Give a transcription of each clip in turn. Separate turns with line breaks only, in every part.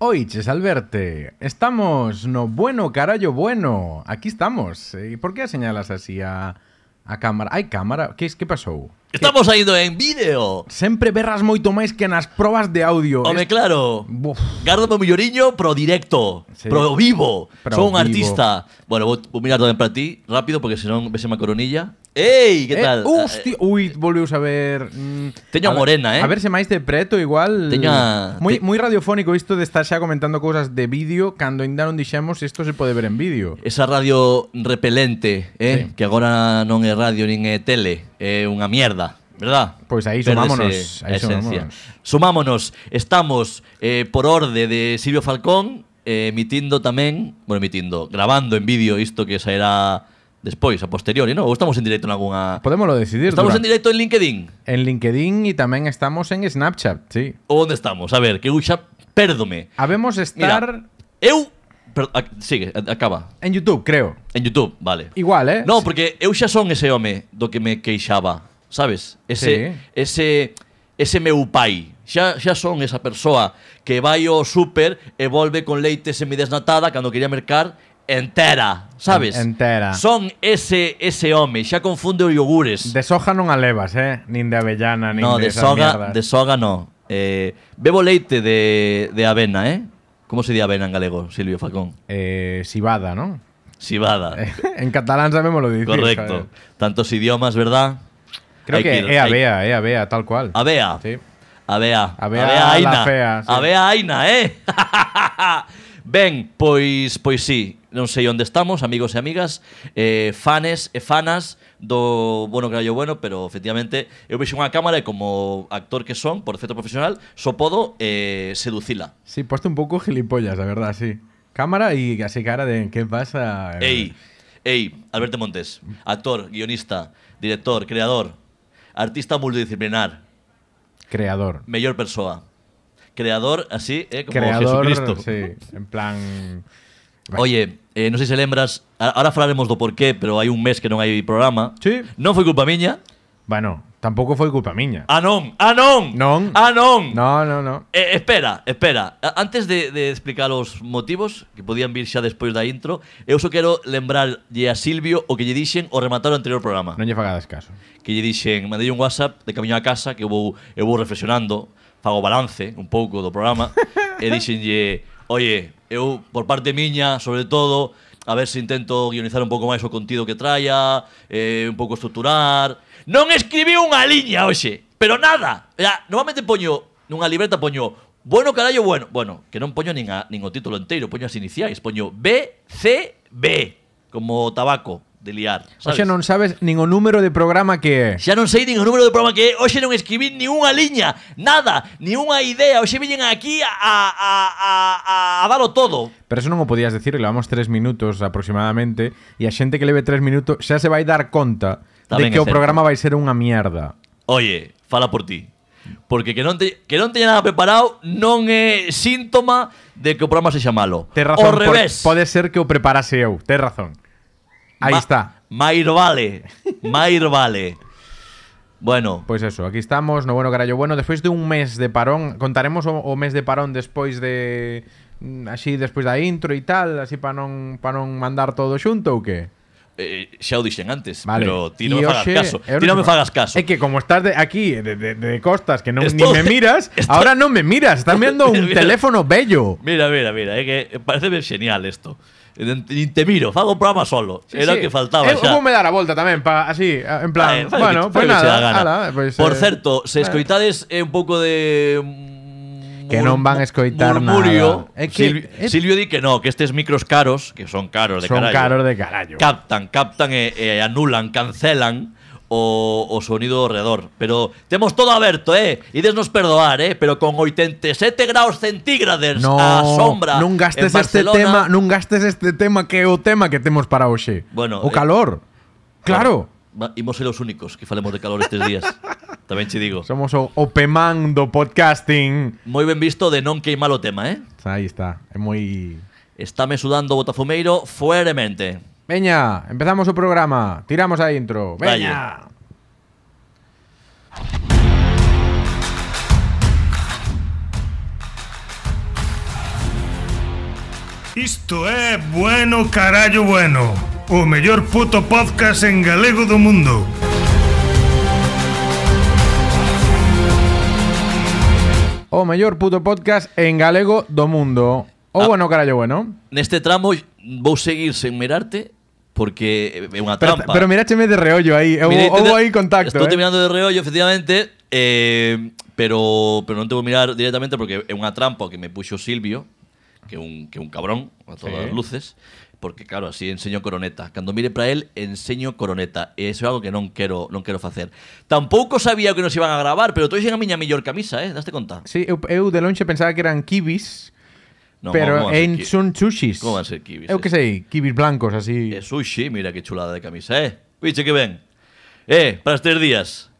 Oiches, Alberte, estamos no bueno, carallo bueno. Aquí estamos. E por que a señalas así a, a cámara? Hai cámara? Que, que pasou?
Estamos saindo en vídeo.
Sempre berras moito máis que nas probas de audio.
Home,
Es-
claro.
Buf.
Gárdame o melloriño pro directo,
Sí.
pro vivo.
Pro
Son un
vivo.
artista. Bueno, vou, vou mirar tamén para ti, rápido, porque senón vese má coronilla. Ei, que
Eh,
tal? Ah,
hostia, ui, volveu a ver... mm,
Teño a
a ver-
morena, eh.
A verse máis de preto, igual...
Teño a-
Moi,
te-
moi radiofónico isto de estar xa comentando cousas de vídeo cando ainda non dixemos isto se pode ver en vídeo.
Esa radio repelente, eh?
Sí.
que agora non é radio nin é tele, é unha mierda, verdad?
Pois aí
Pérdese
sumámonos, aí
a esencia.
sumámonos.
Sumámonos, estamos eh, por orde de Silvio Falcón eh, emitindo tamén, bueno, emitindo, grabando en vídeo isto que sairá despois, a posteriori, non? Ou estamos en directo en algunha...
Podémoslo decidir.
Estamos en
durante-
directo en LinkedIn.
En LinkedIn y tamén estamos en Snapchat, sí.
Ou onde estamos? A ver, que eu xa pérdome.
Habemos estar
Mira, eu... Per, a, sigue, a- acaba.
en YouTube, creo.
En YouTube, vale.
Igual, eh?
No, porque eu xa son ese home do que me queixaba, sabes?
Sí.
Ese ese ese meu pai. Xa, xa son esa persoa que vai ao súper e volve con leite semidesnatada cando quería mercar entera, sabes?
En- entera.
Son ese ese home, xa confunde os yogures.
De soja non alevas, eh? Nin de avellana, nin
no,
de,
de
esas
soga,
mierdas.
de soga no. Eh, bebo leite de, de avena, eh? Como se di avena en galego, Silvio Facón?
Eh, sibada, non?
Cibada.
en catalán sabemos lo dicir.
Correcto.
joder.
Tantos idiomas, ¿verdad?
Creo
Hay
que
ir-
é
hay- Ah.
avea, é avea, tal cual.
Avea.
Sí.
Avea.
Avea la fea, sí.
Avea Aina, eh? Ben, pois pois sí, non sei onde estamos, amigos e amigas, eh, fanes e fanas do Bueno Carallo Bueno, pero efectivamente eu vexo unha cámara e como actor que son, por defecto profesional, só podo eh, seducila.
Sí, poste un pouco gilipollas, la verdad, sí. Cámara y así cara de ¿qué pasa? eh,
Ei, ei, Alberto Montes, actor, guionista, director, creador, artista multidisciplinar,
Creador.
mellor persoa. Creador, así, eh, como
Creador,
Jesucristo.
sí. En plan...
Oye, eh, non sei se lembras, a- ahora falaremos do porqué, pero hai un mes que non hai programa.
Sí.
Non foi culpa miña.
Bueno, tampouco foi culpa miña.
Ah, non, ah, non,
Non.
ah, non.
No, no, no.
Eh, espera, espera. A- Antes de, de explicar os motivos que podían vir xa despois da intro, eu só quero lembrarlle a Silvio o que lle dixen o rematar o anterior programa.
Non lle fagades caso.
que lle dixen, mandei un WhatsApp de camiño a casa que eu vou, eu vou reflexionando, fago balance un pouco do programa e dixenlle, "Oye, eu por parte miña, sobre todo, a ver se intento guionizar un pouco máis o contido que traia, eh, un pouco estruturar. Non escribí unha liña hoxe, pero nada. Ya, normalmente poño nunha libreta poño Bueno, carallo, bueno. Bueno, que non poño nin, a, nin o título inteiro, poño as iniciais, poño B, C, B, como tabaco de liar.
Oxe,
Sabes?
non sabes nin o número de programa que é.
Xa non sei nin o número do programa que é Hoxe non escribí ni unha liña Nada, ni unha idea Hoxe viñen aquí a, a, a, a, a dar o todo
Pero eso non o podías decir, levamos tres minutos aproximadamente e a xente que leve tres minutos xa se vai dar conta
Tamén
de que
é
o
certo.
programa vai ser unha mierda.
Oye, fala por ti Porque que non, te, que non teña nada preparado Non é síntoma de que o programa sexa malo
Tes
O
razón, por-
revés
pode ser que o preparase eu, tes razón. Aí
Ma-
está.
Mair vale Mair vale Bueno,
Pois eso, aquí estamos, no bueno carallo bueno, despois de un mes de parón, contaremos o, o mes de parón despois de mm, así despois da intro e tal, así para non pa non mandar todo xunto ou que?
eh, xa o dixen antes
Vale.
Pero
E
ti non me fagas
hoxe-
caso
eu
Ti non me
fa-
fagas caso
É que como estás de aquí, de, de- de costas, que non, ni
Estou-
me miras,
estou-
ahora non me miras. Estás viendo un
Mira.
teléfono bello.
Mira, mira, mira, é que parece genial esto. Ni te miro, fago un programa solo. Era o que faltaba
Eu
xa.
vou me dar a volta tamén, pa, así, a- Eh, en plan,
Ah, eh, fai o
bueno,
que-
pues
fai o que
nada,
se dá gana.
ala, pois,
Por
eh,
certo, se
eh,
escoitades eh, un pouco de
Que non van a escoitar
murmurio,
nada. É que-
Silvio,
é-
Silvio di que no, que estes micros caros, que son caros de
son
carallo,
caros de carallo.
captan, captan e, e anulan, cancelan o, o sonido ao redor. Pero temos todo aberto, eh? Idesnos perdoar, eh? Pero con 87 graus centígrados
no,
a sombra
non gastes
en
este
Barcelona,
tema, non gastes este tema que é o tema que temos para hoxe.
Bueno,
o
eh,
calor. Claro.
Va- Imos ser os únicos que falemos de calor estes días. Tamén che digo.
Somos o, o pemán do podcasting.
Moi ben visto de non queimar o tema, eh?
Aí está, é moi
Estame sudando o botafumeiro fueremente.
Veña, empezamos o programa. Tiramos a intro. Veña.
Isto é Bueno Carallo Bueno, o mellor puto podcast en galego do mundo.
O mellor puto podcast en galego do mundo. O
Ah.
bueno, carallo, bueno.
Neste este tramo vou seguir sen mirarte porque é unha
Pero,
trampa.
pero mirácheme de reollo aí.
Mirei,
Houbo houbo
tende-
aí contacto.
Estou
eh.
terminando de reollo, efectivamente, eh, pero pero non te vou mirar directamente porque é unha trampa que me puxo Silvio, que é un que é un cabrón a todas
Sí.
as luces, porque claro, así enseño coroneta. Cando mire para él, enseño coroneta. E iso é algo que non quero non quero facer. Tampouco sabía que nos iban a gravar, pero trouxen a miña mellor camisa, eh, daste conta?
Sí, eu, eu de lonxe pensaba que eran kibis,
Non,
pero
como van a ser
en
ki-
son sushis.
Como van a ser kibis?
Eu que sei, kibis blancos así.
Eh, sushi, mira que chulada de camisa, eh. Viche que ben. Eh, para estes días.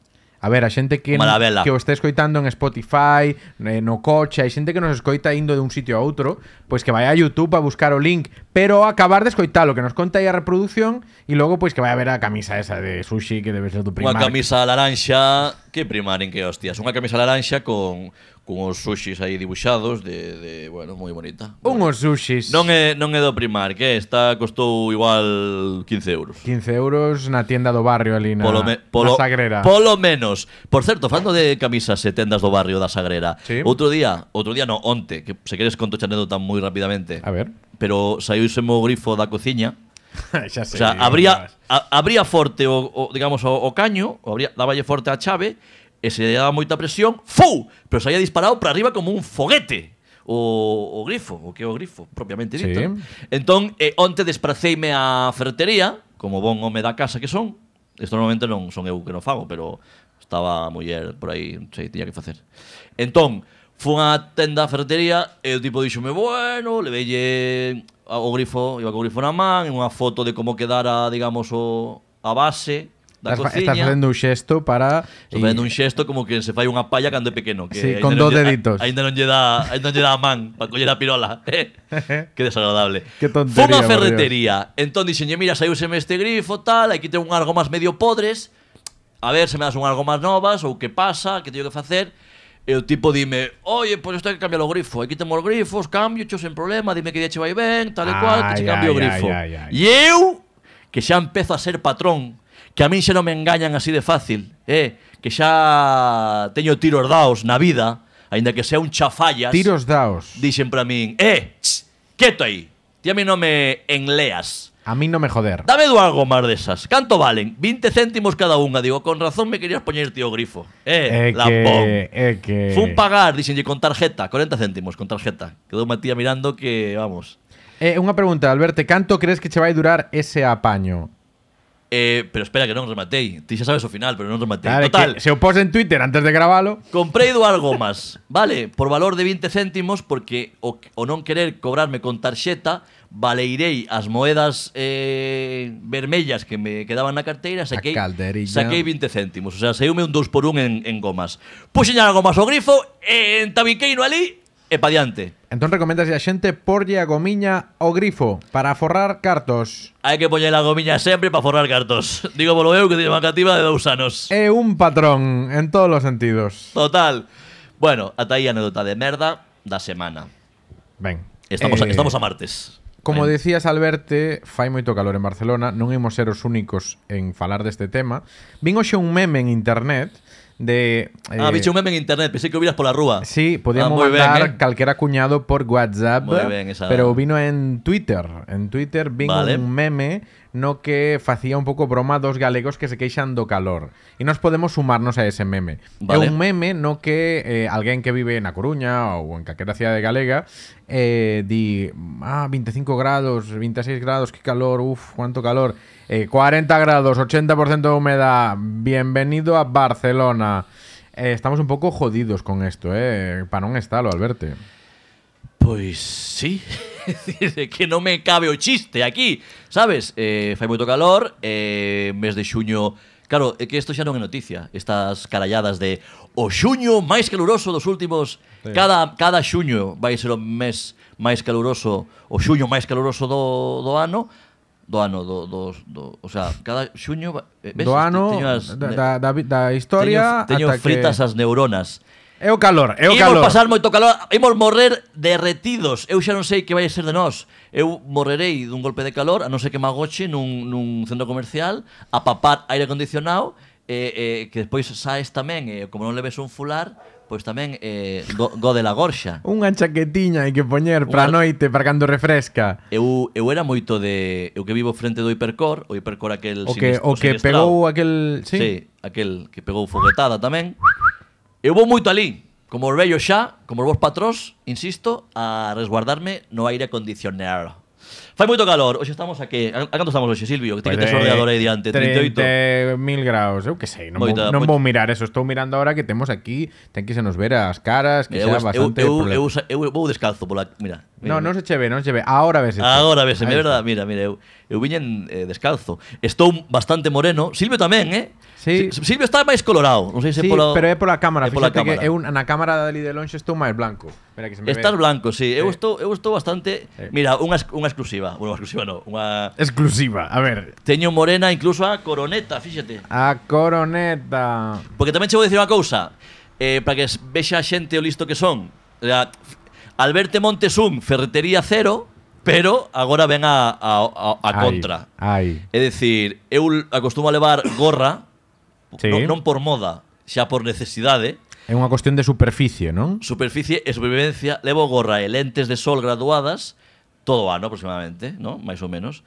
A ver, a xente que,
Malavela.
que o está escoitando en Spotify, eh, no coche, hai xente que nos escoita indo de un sitio a outro, pois que vai a YouTube a buscar o link, pero acabar de escoitalo, que nos conta aí a reproducción, e logo pois que vai a ver a camisa esa de sushi que debe ser do
Unha
primar.
camisa laranxa Que primar en que hostias Unha camisa laranxa con, con os sushis aí dibuixados de, de bueno, moi bonita
Unhos sushis.
Non é, non é do primar Que esta costou igual 15 euros
15 euros na tienda do barrio ali na,
Polo, me-
na
polo,
Sagrera.
polo menos. Por certo, falando de camisas e tendas do barrio da Sagrera.
Sí.
Outro día, outro día no, onte, que se queres conto xa anécdota moi rapidamente.
A ver.
Pero saiu o grifo da cociña.
xa sei.
O sea, abría, a- abría forte o, o, digamos o, o caño, o abría, daballe forte a chave e se lle daba moita presión, ¡fou! Pero saía disparado para arriba como un foguete. O, o grifo, o que é o grifo, propiamente
Sí.
dito. Entón, eh, onte despraceime á ferretería, como bon home da casa que son. Isto normalmente non son eu que non fago, pero estaba a muller por aí, non sei, tiña que facer. Entón, fun á tenda a ferretería e o tipo dixome, bueno, le velle o grifo, iba co grifo na man, e unha foto de como quedara, digamos, o, a base da
Estás, fa-
cociña.
estás facendo un xesto para...
Estou facendo un xesto como que se fai unha palla cando é pequeno. Que
Sí,
aínda
con
non
dous
lle- a-
deditos.
Aínda non lle dá, aínda non lle dá a man para coller a pirola. que desagradable.
Que tontería,
Fue unha
por
ferretería. Entón dixenlle, mira, saiuseme este grifo, tal, aquí ten un algo máis medio podres. A ver se me das un algo máis novas ou que pasa, que teño que facer. E o tipo dime, oye, pois pues isto hai que cambiar o grifo. Aquí temos os grifos, cambio, xo sen problema, dime que día che vai ben, tal e cual, que che
Ai,
cambio o
ai,
grifo.
ai, ai, ai.
E eu, que xa empezo a ser patrón, que a min xa non me engañan así de fácil, eh, que xa teño tiros daos na vida, aínda que sea un chafallas,
Tiros daos.
dixen para min, eh, ch, quieto aí, ti a mí non me enleas.
A mí no me joder.
Dame do algo máis desas. Canto valen? 20 céntimos cada unha. Digo, con razón me querías poñer tío grifo.
É
Eh,
que... É que...
Fun pagar, dixenlle con tarjeta, 40 céntimos con tarjeta. Quedou Matía mirando que, vamos,
Eh, unha pregunta, Alberto, canto crees que che vai durar ese apaño?
Eh, pero espera que non rematei. Ti xa sabes o final, pero non rematei.
Claro, é
Total,
que se o pos en Twitter antes de gravalo,
comprei do algo más, vale? Por valor de 20 céntimos, porque o, o non querer cobrarme con tarxeta, valeirei as moedas eh, vermellas que me quedaban na carteira, saquei,
calderilla.
saquei 20 céntimos. O sea, saiume un 2 por 1 en, en gomas. Puxen algo más ao grifo, e entabiqueino ali, e pa diante.
entón recomendas a xente porlle a gomiña o grifo para forrar cartos.
Hai que poñer a gomiña sempre para forrar cartos. Digo polo eu que teño unha cativa de dous anos.
É un patrón en todos os sentidos.
Total. Bueno, ata aí a anécdota de merda da semana.
Ben.
Estamos, a,
eh,
estamos a martes. Eh.
Como
Ahí.
decías, Alberto, fai moito calor en Barcelona, non imos ser os únicos en falar deste tema. Vin hoxe un meme en internet de...
Ah,
eh,
bicho, un meme en internet, pensei que o viras pola rúa.
Sí, podíamos
Ah, moi ben,
mandar
eh.
calquera cuñado por WhatsApp,
Moi ben esa-
pero vino en Twitter. En Twitter vino
Vale.
un meme no que facía un pouco broma dos galegos que se queixan do calor. E nos podemos sumarnos a ese meme. É
Vale.
un meme no que eh, alguén que vive na Coruña ou en calquera cidade galega eh, di, ah, 25 grados, 26 grados, que calor, uf, cuánto calor. Eh, 40 grados, 80% de humedad, bienvenido a Barcelona. Eh, estamos un pouco jodidos con isto, eh, para non estalo, Alberto.
Pois sí. Dice que non me cabe o chiste aquí, sabes? Eh, fai moito calor, eh, mes de xuño... Claro, é que isto xa non é noticia. Estas caralladas de o xuño máis caluroso dos últimos...
Sí.
Cada, cada xuño vai ser o mes máis caluroso, o xuño máis caluroso do, do ano, do ano, do, do, do, o sea, cada xuño... va- eh, ves?
Do ano
Teño as-
da, da, da, da historia
teño, teño
ata
fritas
que...
as neuronas.
É o calor, é o
Imos
calor.
pasar moito calor, imos morrer derretidos. Eu xa non sei que vai ser de nós. Eu morrerei dun golpe de calor, a non ser que me agoche nun, nun centro comercial, a papar aire acondicionado, e, e, que despois saes tamén, e, como non leves un fular, pois tamén eh, go, go de la gorxa.
Unha chaquetiña hai que poñer para a
Unha-
noite, para cando refresca.
Eu, eu era moito de... Eu que vivo frente do hipercor, o hipercor aquel...
O que,
sinist-
o que
sinistrao.
pegou aquel...
Sí.
Sí,
aquel que pegou foguetada tamén. Eu vou moito ali, como os vellos xa, como os vos patrós, insisto, a resguardarme no aire acondicionado. Fai moito calor, hoxe estamos a que... A, a canto estamos hoxe, Silvio? Que ti que tes o ordenador aí diante,
30.000
38.
graus, eu que sei, non, vou,
Moita,
non
moita.
vou mirar eso, estou mirando ahora que temos aquí, ten que se nos ver as caras, que
Eu,
e- xa
eu,
bastante
eu, eu,
problema.
sa- eu, vou descalzo pola... Mira,
no,
mira
non se che ve, non se ve. Ahora ves.
Agora ves,
Ahí
é
está.
verdade, mira, mira, eu, eu viñen eh, descalzo. Estou bastante moreno, Silvio tamén, eh?
Sí.
Si- Silvio está máis colorado, non sei
Sí,
se polo
pero é pola cámara,
é pola
fíjate
cámara.
que é un, na cámara de ali de lonxe estou máis blanco. Mira que se me
Estás
ve.
blanco, sí. Eu
Sí.
estou, eu estou bastante...
Sí.
Mira, unha, ex- unha exclusiva. Bueno, unha exclusiva no. Unha...
Exclusiva, a ver.
Teño morena incluso a coroneta, fíxate.
A coroneta.
Porque tamén che vou dicir unha cousa. Eh, para que s- vexa a xente o listo que son. La, Alberto Montes un, ferretería cero, pero agora ven a, a, a, a
Ai,
contra.
Ai.
É dicir, eu l- acostumo a levar gorra,
Sí.
non, non por moda, xa por necesidade,
É unha cuestión de superficie, non?
superficie e supervivencia, levo gorra e lentes de sol graduadas todo o ano aproximadamente, ¿no? máis ou menos.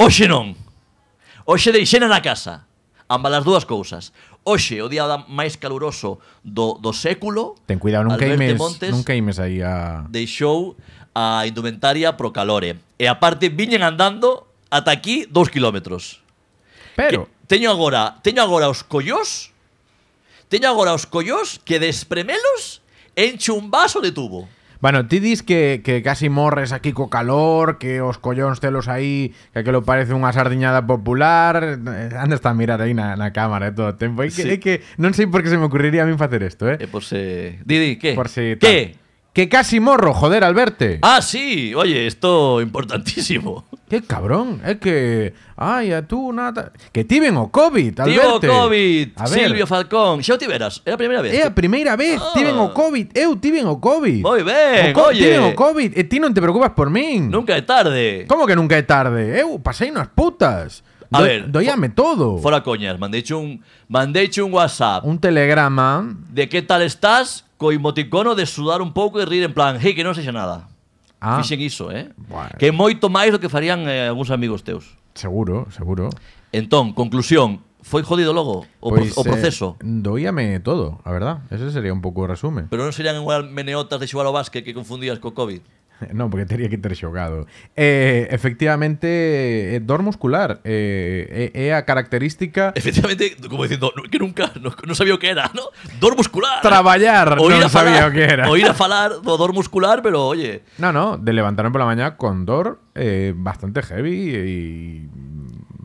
Oxe non. Oxe deixena na casa. Ambas as dúas cousas. Oxe, o día da- máis caluroso do, do século,
Ten cuidado, nunca
Alberto
imes,
Montes
nunca imes aí a
deixou a indumentaria pro calore. E aparte, viñen andando ata aquí dous kilómetros.
Pero
Que teño agora, teño agora os collós, teño agora os collós que despremelos enche un vaso de tubo.
Bueno, ti dis que, que casi morres aquí co calor, que os collóns telos aí, que aquilo parece unha sardiñada popular. Eh, Andas a mirar aí na, na cámara e todo o tempo. É que,
Sí.
é que non sei por que se me ocurriría a min facer isto, eh?
Eh, por si... Didi, ¿qué?
Por si tal.
Eh, ¿Qué?
Que casi morro, joder, al verte.
Ah, sí. Oye, esto importantísimo.
Que cabrón, é que... Ai, a tú, nada... Que tiven o COVID, al
Tivo
verte.
COVID,
A ver, Eh.
Silvio Falcón. Xa o tiveras, era a primeira vez.
É a primeira vez,
Ah.
tiven o COVID, eu tiven o COVID.
Moi
o
ben,
co-
oye.
Tiven o COVID, e ti non te preocupas por min.
Nunca é tarde.
Como que nunca é tarde? Eu pasei nas putas.
A
Do-
ver,
doíame todo.
Fora coñas, mandeiche un, mandeiche un WhatsApp.
Un telegrama.
De que tal estás co emoticono de sudar un pouco e rir en plan, hey, que non sexa nada.
Ah,
Fixen iso, eh?
Bueno.
Que é moito máis do que farían eh, algúns amigos teus.
seguro, seguro.
Entón, conclusión, foi jodido logo o, pro-
Pois,
o proceso.
Eh, doíame todo, a verdad. Ese sería un pouco o resume.
Pero non serían igual meneotas de xogar ao básquet que confundías co COVID.
non, porque teria que ter xogado. Eh, efectivamente, é dor muscular. Eh, é, é a característica...
Efectivamente, como diciendo "No, que nunca, no, no sabía o que era, ¿no? Dor muscular.
Traballar,
O ir
non
a falar-
sabía o que era.
O ir a falar do dor muscular, pero oye,
No, no, de levantarme por la mañana con dor eh, bastante heavy y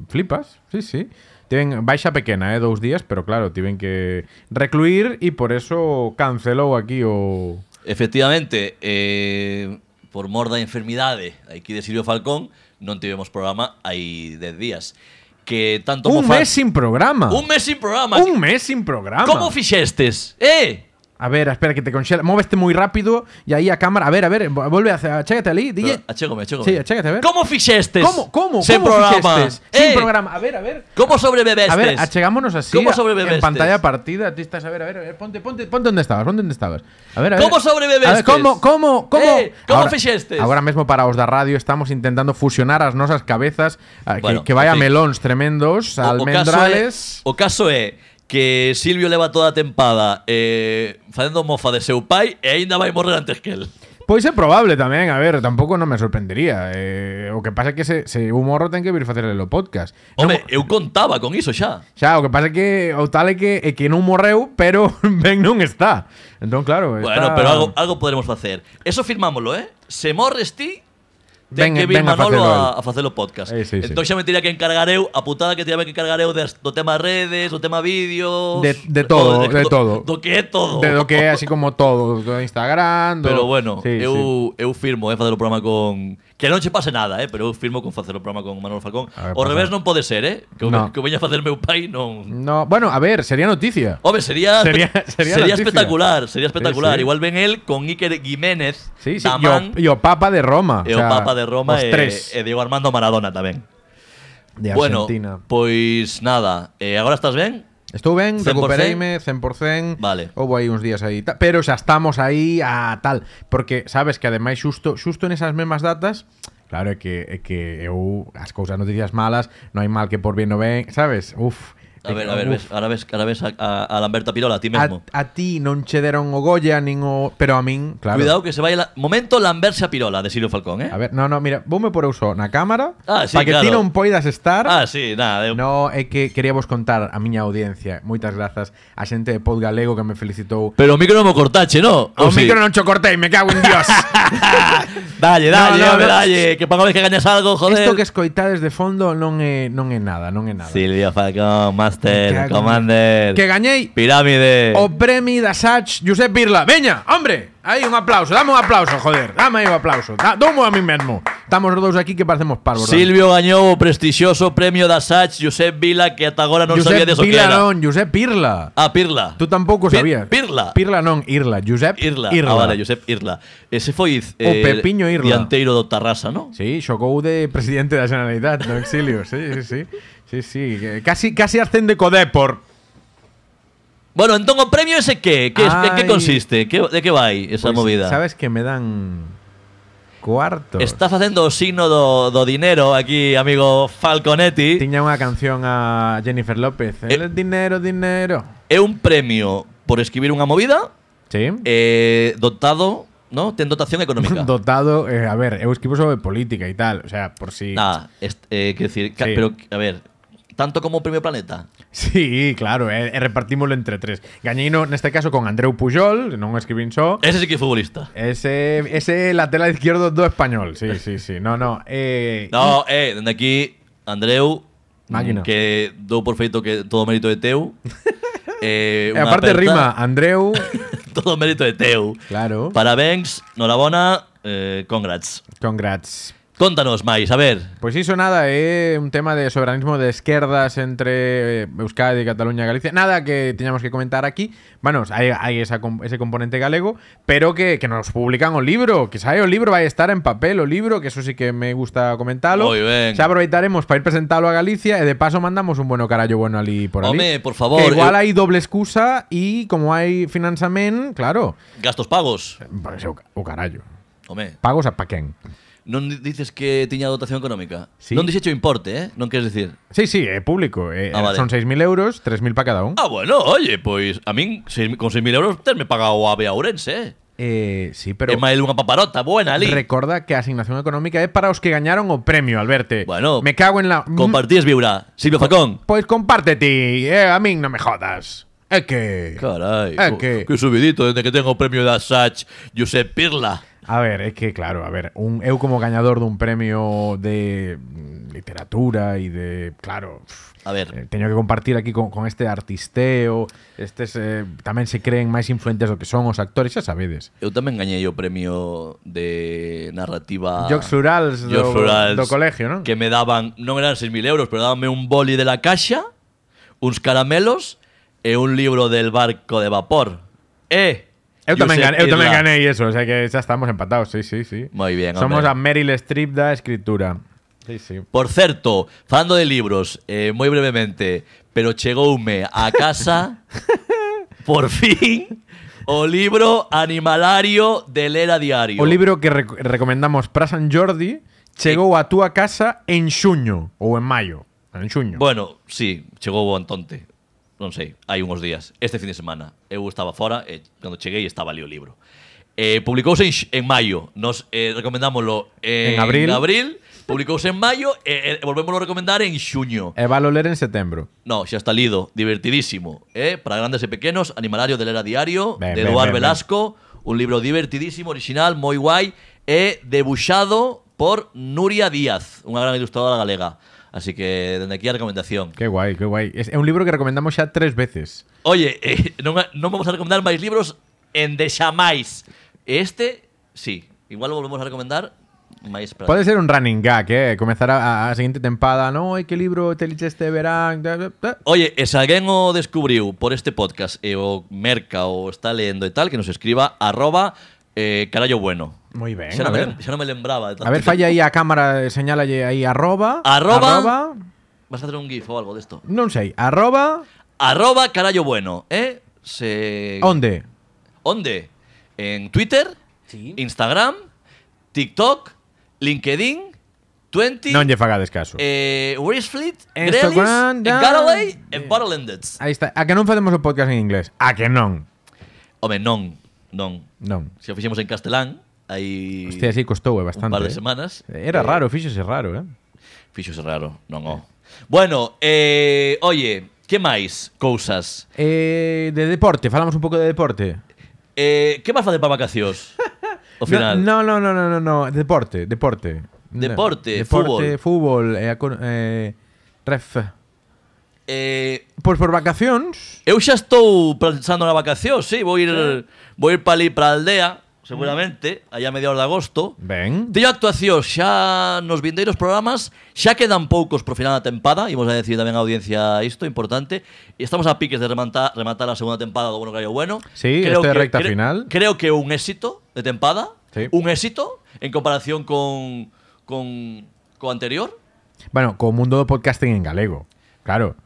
flipas, sí, sí. Tiven baixa pequena, eh, dous días, pero claro, tiven que recluir y por eso cancelou aquí o...
efectivamente, eh, por mor da enfermidade aquí de Silvio Falcón, non tivemos programa hai 10 días. Que tanto
Un
mo fa-
mes sin programa.
un mes sin programa.
Un mes sin programa.
Como fixestes? Eh,
A ver, espera que te conxela. Móvete muy rápido y ahí a cámara. A ver, a ver, vuelve a hacer. Achégate ali, DJ.
Pero, ah, achégome, achégome.
Sí, achégate, a ver.
Como fixestes?
¿Cómo? ¿Cómo?
Sen
¿Cómo
programa.
fixestes? Sin
Eh,
programa. A ver, a ver.
Como sobrevivestes?
A ver, achegámonos así
Este ¿Cómo este?
a- en
sobrevivestes?
pantalla partida. Tú estás, a ver, a ver, a ver, ponte, ponte, ponte donde estabas, ponte donde estabas. A ver, a ver.
¿Cómo sobrevivestes?
A ver, ¿Cómo, cómo, cómo?
Eh, ¿cómo
Ahora-
fixestes?
Ahora mismo para os da radio estamos intentando fusionar as nosas cabezas ah, que-
Bueno,
que, vaya
en fin.
melóns tremendos, almendrales.
O caso é, o caso é que Silvio leva toda a tempada eh, facendo mofa de seu pai e aínda vai morrer antes que el.
Pois é probable tamén, a ver, tampouco non me sorprendería. Eh, o que pasa é que se, se un morro ten que vir facerle o podcast. Non
Home,
mo-
eu contaba con iso xa.
Xa, o que pasa é que o tal é que, é que non morreu, pero ben non está. Entón, claro,
Bueno,
está-
pero algo, algo poderemos facer. Eso firmámoslo, eh? Se morres ti,
Ven-
Ten que vir
ven a facelo
Manolo a,
el.
a facer o podcast.
Eh, sí, sí.
entón xa me teria que encargar eu, a putada que teria que encargar eu des- do tema redes, do tema vídeos,
De- de todo, de
do-
todo.
Do que é todo.
De lo que é así como todo, do Instagram, do-
Pero bueno,
Sí, sí.
eu, eu firmo eh, facer o programa con... Que non che pase nada, eh, pero eu firmo con facer o programa con Manolo Falcón.
A ver,
o
pasa.
revés non pode ser, eh? Que o,
No.
que o veña facer meu pai non...
No, bueno, a ver, sería noticia.
Home, sería,
Sería- sería noticia.
espectacular, sería espectacular.
sí.
Igual ven él con Iker Jiménez,
Sí, sí, e
Tamán,
o- e o Papa de Roma.
e o
sea,
Papa de Roma
os
e,
tres
e Diego Armando Maradona tamén.
de
bueno,
Argentina.
pois nada, eh, agora estás ben?
Estou ben,
100%?
recupereime 100%.
Vale.
Houve aí uns días aí, ta- pero xa estamos aí a tal, porque sabes que ademais xusto xusto nesas mesmas datas, claro é que é que eu as cousas noticias malas, non hai mal que por bien non ven, sabes? Uf.
A ver, a
uf. Ah,
ver, ves, ahora ves, ahora ves a, a, a Lamberta Pirola, a
A,
ti mesmo.
a ti non che deron o Goya nin o, pero a min, claro.
Cuidado que se vai la... Momento Lamberse a Pirola de Silvio Falcón, eh?
A ver, no, no, mira, voume por eu só na cámara
Ah, sí,
para que ti
claro.
non poidas estar.
Ah, sí, nada, eu
No, é que queríamos contar a miña audiencia, moitas grazas a xente de Pod Galego que me felicitou.
Pero o micro non mo cortache, no?
O micro non cho cortei, me cago en Dios.
Dalle,
No,
dalle,
no,
home,
no.
dalle Que para vez que gañas algo, joder
Isto que escoitades de fondo non é non é nada, non é nada.
Silvio
Me
Falcón, Master,
cago.
Commander
Que Oh, gañei
Pirámide
o premi da Sach Josep Birla. Veña, hombre, aí un aplauso, dame un aplauso, joder. Dame aí un aplauso. Da, doumo a mí mesmo. Estamos os dous aquí que parecemos parvos.
Silvio gañou o prestixioso premio da Sach Josep Vila Que ata agora non
Josep
sabía deso que
Birla
era
non, Josep Birla.
Ah, Pirla
Tú tampouco
Pir-
sabías.
Pirla
Pirla non, Irla, Josep
Irla. Ah, vale, Josep Irla Ese foi
O Pepiño Irla.
Dianteiro do Tarrasa, non?
Sí, xogou de presidente da Generalitat no exilio, sí, sí, sí. Sí, sí, que casi casi ascende co Depor.
Bueno, entón o premio ese que? Que, que, que
Ai.
consiste? Que, de que vai esa
Pois,
movida?
pues, Sabes que me dan cuarto.
Está facendo o signo do, do dinero aquí, amigo Falconetti.
Tiña unha canción a Jennifer López.
Eh.
El dinero, dinero.
É un premio por escribir unha movida
Sí.
eh, dotado, ¿no? Ten dotación económica.
Dotado, eh, a ver, eu escribo sobre política e tal, o sea, por si
Nada, eh, quiero decir, ca-
Sí.
pero a ver, tanto como Premio Planeta.
Sí, claro, eh, e repartímolo entre tres. Gañeino neste caso con Andreu Pujol, non escribín só.
Ese sí que é futbolista.
Ese ese lateral izquierdo do español. Sí, sí, sí. No, no, eh
No, eh, dende aquí, Andreu, mm,
Máquina.
que dou por feito que todo mérito de teu. eh,
e
unha
aparte
aperta,
rima Andreu,
Todo mérito de teu.
claro.
Parabéns, norabona, eh, congrats.
Congrats.
Contanos máis, a ver,
Pois iso Pues nada, é un tema de soberanismo de esquerdas entre eh, Euskadi, Cataluña e Galicia. Nada que teñamos que comentar aquí. Bueno, hai, hai esa, com- ese componente galego, pero que, que nos publican o libro, que sabe o libro vai estar en papel o libro, que eso sí que me gusta comentalo.
Moi ben.
Xa aproveitaremos para ir presentalo a Galicia e de paso mandamos un bueno carallo bueno ali por ali.
Home, por favor,
Que igual
eu-
hai doble excusa e como hai financiamento, claro,
gastos pagos.
pois o, ca- o carallo.
Home,
Pagos a pa quen?
non di- dices que tiña dotación económica.
Sí.
Non dixeche o importe, eh? Non queres dicir.
Sí, sí, é público. eh,
Ah, vale.
Son 6.000 euros, 3.000 para cada un.
Ah, bueno, oye, pois a min seis- con 6.000 euros terme pagado a Bea Ourense, eh?
Eh, sí, pero
Pero, é máis unha paparota buena ali.
recorda que a asignación económica é para os que gañaron o premio, Alberto.
Bueno,
me cago en la
Compartíes Mm. viura. Silvio Facón.
Mm, Pois compártete, eh, a min non me jodas. É que
Carai,
É
co-
Eh, que-
que subidito desde que tengo o premio da Sach Josep Pirla.
A ver, é que claro, a ver, un eu como gañador dun premio de mm, literatura e de, claro, pff,
A ver.
eh, teño que compartir aquí con, con este artisteo, estes eh, tamén se creen máis influentes do que son os actores, xa sabedes.
Eu tamén gañei o premio de narrativa
Jocs florals do-
Ah, Jocs florals
do colegio, non?
Que me daban, non eran 6.000 euros Pero dabanme un boli de la caixa Uns caramelos E un libro del barco de vapor Eh
Eu tamén, gan,
Josep
eu tamén
Irla.
ganei eso, o sea que xa estamos empatados, sí, sí, sí.
Moi bien,
Somos a
hombre.
Meryl Streep da escritura. Sí, sí.
Por certo, falando de libros eh, Moi brevemente Pero chegoume a casa Por fin O libro Animalario de Lera Diario
O libro que rec- recomendamos para San Jordi chegou a túa casa en xuño ou en maio, en xuño.
Bueno, sí, chegou o Antonte. Non sei, hai uns días, este fin de semana. Eu estaba fora e cando cheguei estaba ali o libro. Eh, publicouse en, x- en maio, nos eh, recomendámoslo en,
En abril.
publicouse en maio e, e volvémoslo a recomendar en xuño.
E valo ler en setembro.
No, xa está lido, divertidísimo, eh? Para grandes e pequenos, Animalario de Lera Diario,
Ben,
de
ben,
Eduard
ben, ben.
Velasco, un libro divertidísimo, original, moi guai, e debuxado por Nuria Díaz, unha gran ilustradora galega. Así que, dende aquí a recomendación.
Qué guai, qué guai. Es é un libro que recomendamos xa tres veces.
Oye, eh, non, non vamos a recomendar máis libros en de xamais. Este, sí. Igual volvemos a recomendar máis pra...
Pode ser un running gag, eh? Comezar a, a seguinte tempada, no, ai, que libro te liches este verán... da, da, da".
Oye, e se alguén o descubriu por este podcast e o merca ou está lendo e tal, que nos escriba arroba eh, carallo bueno.
Moi ben,
xa non
a
me
ver.
lem- xa non me lembraba. de
A ver,
tanto
falla aí a cámara, señálalle aí arroba...
Arroba- Vas a hacer un gif o algo desto.
Non sei, arroba...
Arroba carallo bueno, eh? Se...
Onde?
Onde? En Twitter,
Sí.
Instagram, TikTok, LinkedIn, 20,
Non lle fagades caso.
eh, Wristfleet,
En
Grelis,
Instagram,
en
ya.
Galloway, en Battle Ended.
Aí está. A que non facemos o podcast en inglés? A que non?
Home, non, non.
Non.
Se o fixemos en castelán, aí
Hostia, sí, costou eh,
un
bastante.
par
eh.
de semanas.
Era raro, fíxose raro, eh?
Fixose raro, non o. Bueno, eh, oye, que máis cousas?
Eh, de deporte, falamos un pouco de deporte.
Eh, que vas facer para vacacións? O final.
No, no, no, no, no, no. deporte, deporte.
Deporte,
deporte, fútbol, eh, acon- eh, ref.
Eh,
Pois por vacacións,
Eu xa estou pensando na vacación, sí, vou ir vou ir para ali para aldea, seguramente, allá a mediados de agosto.
ben.
Teño actuación xa nos vindeiros programas, xa quedan poucos pro final da tempada, imos a decir tamén a audiencia isto, importante. E Estamos a piques de rematar, rematar a segunda tempada do Bueno Callo Bueno.
Sí, esto é recta
cre-
final.
Creo que un éxito de tempada,
Sí.
un éxito en comparación con con co anterior.
Bueno, co mundo do podcasting en galego, claro.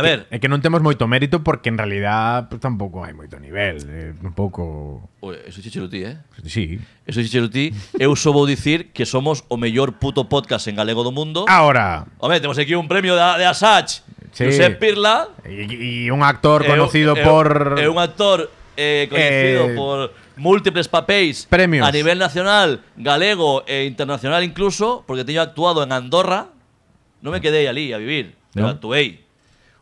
é
a
que-
ver.
É que non temos moito mérito porque en realidad pues, tampouco hai moito nivel, eh, un pouco...
Ui, eso chichero ti, eh?
Sí.
Eso dixero ti, eu só vou dicir que somos o mellor puto podcast en galego do mundo.
Ahora,
Home, temos aquí un premio da, de Asach,
Sí.
Josep Pirla.
e e un actor
é un-
conocido
é un-
por...
É un actor
Eh,
eh, coñecido por múltiples papéis
premios.
a nivel nacional, galego e internacional incluso, porque teño actuado en Andorra. Non me quedei ali a vivir, pero
No.
actuei.